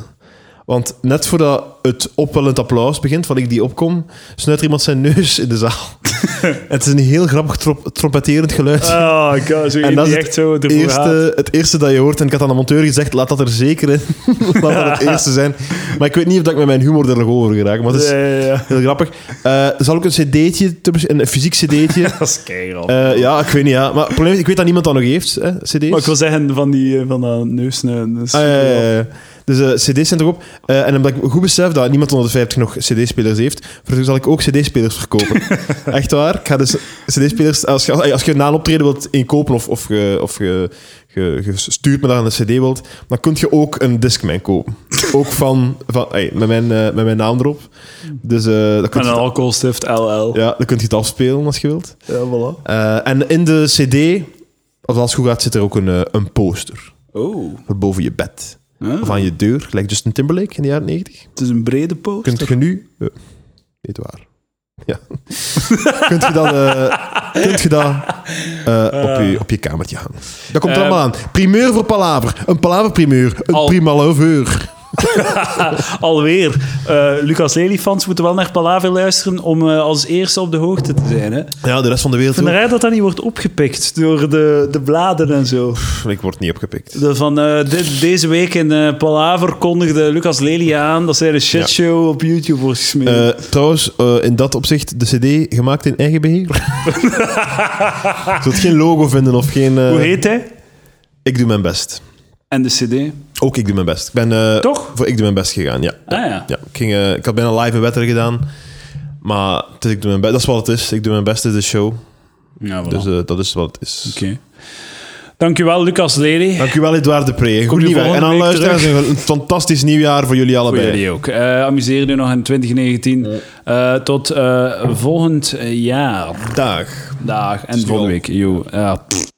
Speaker 1: Want net voordat het opwellend applaus begint, van ik die opkom, snuit er iemand zijn neus in de zaal. het is een heel grappig trom- trompetterend geluid.
Speaker 2: Oh god, zo
Speaker 1: En dat
Speaker 2: iemand
Speaker 1: is
Speaker 2: die echt zo ervoor gaat.
Speaker 1: eerste, het eerste dat je hoort, en ik had aan de monteur gezegd, laat dat er zeker in. laat dat het eerste zijn. Maar ik weet niet of dat ik met mijn humor er nog over geraak. Maar het is
Speaker 2: Ja, ja, ja.
Speaker 1: heel grappig. Eh, er zal ook een cd'tje, te bes- een fysiek cd'tje,
Speaker 2: Dat is keirap.
Speaker 1: eh, ja, ik weet niet. Ja. Maar het probleem is, ik weet dat niemand dat nog heeft, hè, CD's.
Speaker 2: Maar ik wil zeggen, van die eh, van dat neus... eh, dus-
Speaker 1: Ah, ja, ja, ja. Dus eh, CD's zijn erop. Eh, en omdat ik goed besef dat niemand onder de 50 nog CD-spelers heeft, voor- zal ik ook CD-spelers verkopen. Echt waar. Ik ga dus CD-spelers. Als je, als je na een optreden wilt inkopen of, of, ge, of ge, ge, ge stuurt me daar een CD wilt, dan kun je ook een Discman kopen. ook van. van ey, met, mijn, eh, met mijn naam erop. Dus eh dat kun
Speaker 2: Met
Speaker 1: je,
Speaker 2: een
Speaker 1: het-
Speaker 2: alcoholstift LL.
Speaker 1: ja, dan kun je het afspelen als je wilt.
Speaker 2: Ja, voilà.
Speaker 1: Eh, en in de CD, als alles goed gaat, zit er ook een, eh, een poster
Speaker 2: Oh.
Speaker 1: voor boven je bed.
Speaker 2: Ah,
Speaker 1: Of aan je deur, gelijk Justin Timberlake in de jaren 90.
Speaker 2: Het is een brede poot.
Speaker 1: Kunt je nu. eh, niet waar. Ja. kunt je dat. eh, kunt je dat eh, op,
Speaker 2: Ah.
Speaker 1: je, op je kamertje hangen? Dat komt er allemaal aan. Primeur voor Palaver. Een Palaver-primeur. Een
Speaker 2: Eh. Al-
Speaker 1: primalaveur.
Speaker 2: Alweer. Eh, Lucas Lely-fans moeten wel naar Palaver luisteren om eh, als eerste op de hoogte te zijn. Hè? Ik
Speaker 1: Ja, de rest van de wereld.
Speaker 2: vind het raar dat dat niet wordt opgepikt door de, de bladen en zo.
Speaker 1: ook. Ik word niet opgepikt.
Speaker 2: De, van, eh, de- deze week in eh, Palaver kondigde Lucas Lely aan dat zij de shitshow op YouTube wordt gesmeerd.
Speaker 1: Eh, trouwens, eh, in dat opzicht, de CD gemaakt in eigen beheer. Zult geen logo vinden of geen. eh,
Speaker 2: Hoe heet hij?
Speaker 1: Ik doe mijn best.
Speaker 2: En de CD.
Speaker 1: Ook ik doe mijn best. Ik ben eh,
Speaker 2: Toch?
Speaker 1: voor ik doe mijn best gegaan, ja.
Speaker 2: Ah ja.
Speaker 1: ja ik, ging, eh, ik had bijna live een wetter gedaan. Maar het is ik doe mijn best. Dat is wat het is. Ik doe mijn best is de show.
Speaker 2: Ja, voilà.
Speaker 1: Dus eh, dat is wat het is.
Speaker 2: Oké. Dankjewel, Lucas Lely.
Speaker 1: Dankjewel, Edouard de Pre. Goed
Speaker 2: je
Speaker 1: nieuwjaar. En
Speaker 2: volgende
Speaker 1: aan
Speaker 2: week
Speaker 1: luisteraars, een fantastisch nieuwjaar voor jullie
Speaker 2: Voor
Speaker 1: allebei.
Speaker 2: jullie ook. Eh amuseer je nog in 2019. Eh, tot eh, volgend jaar.
Speaker 1: Dag.
Speaker 2: Dag. En volgende week. Yo. Ja, pff.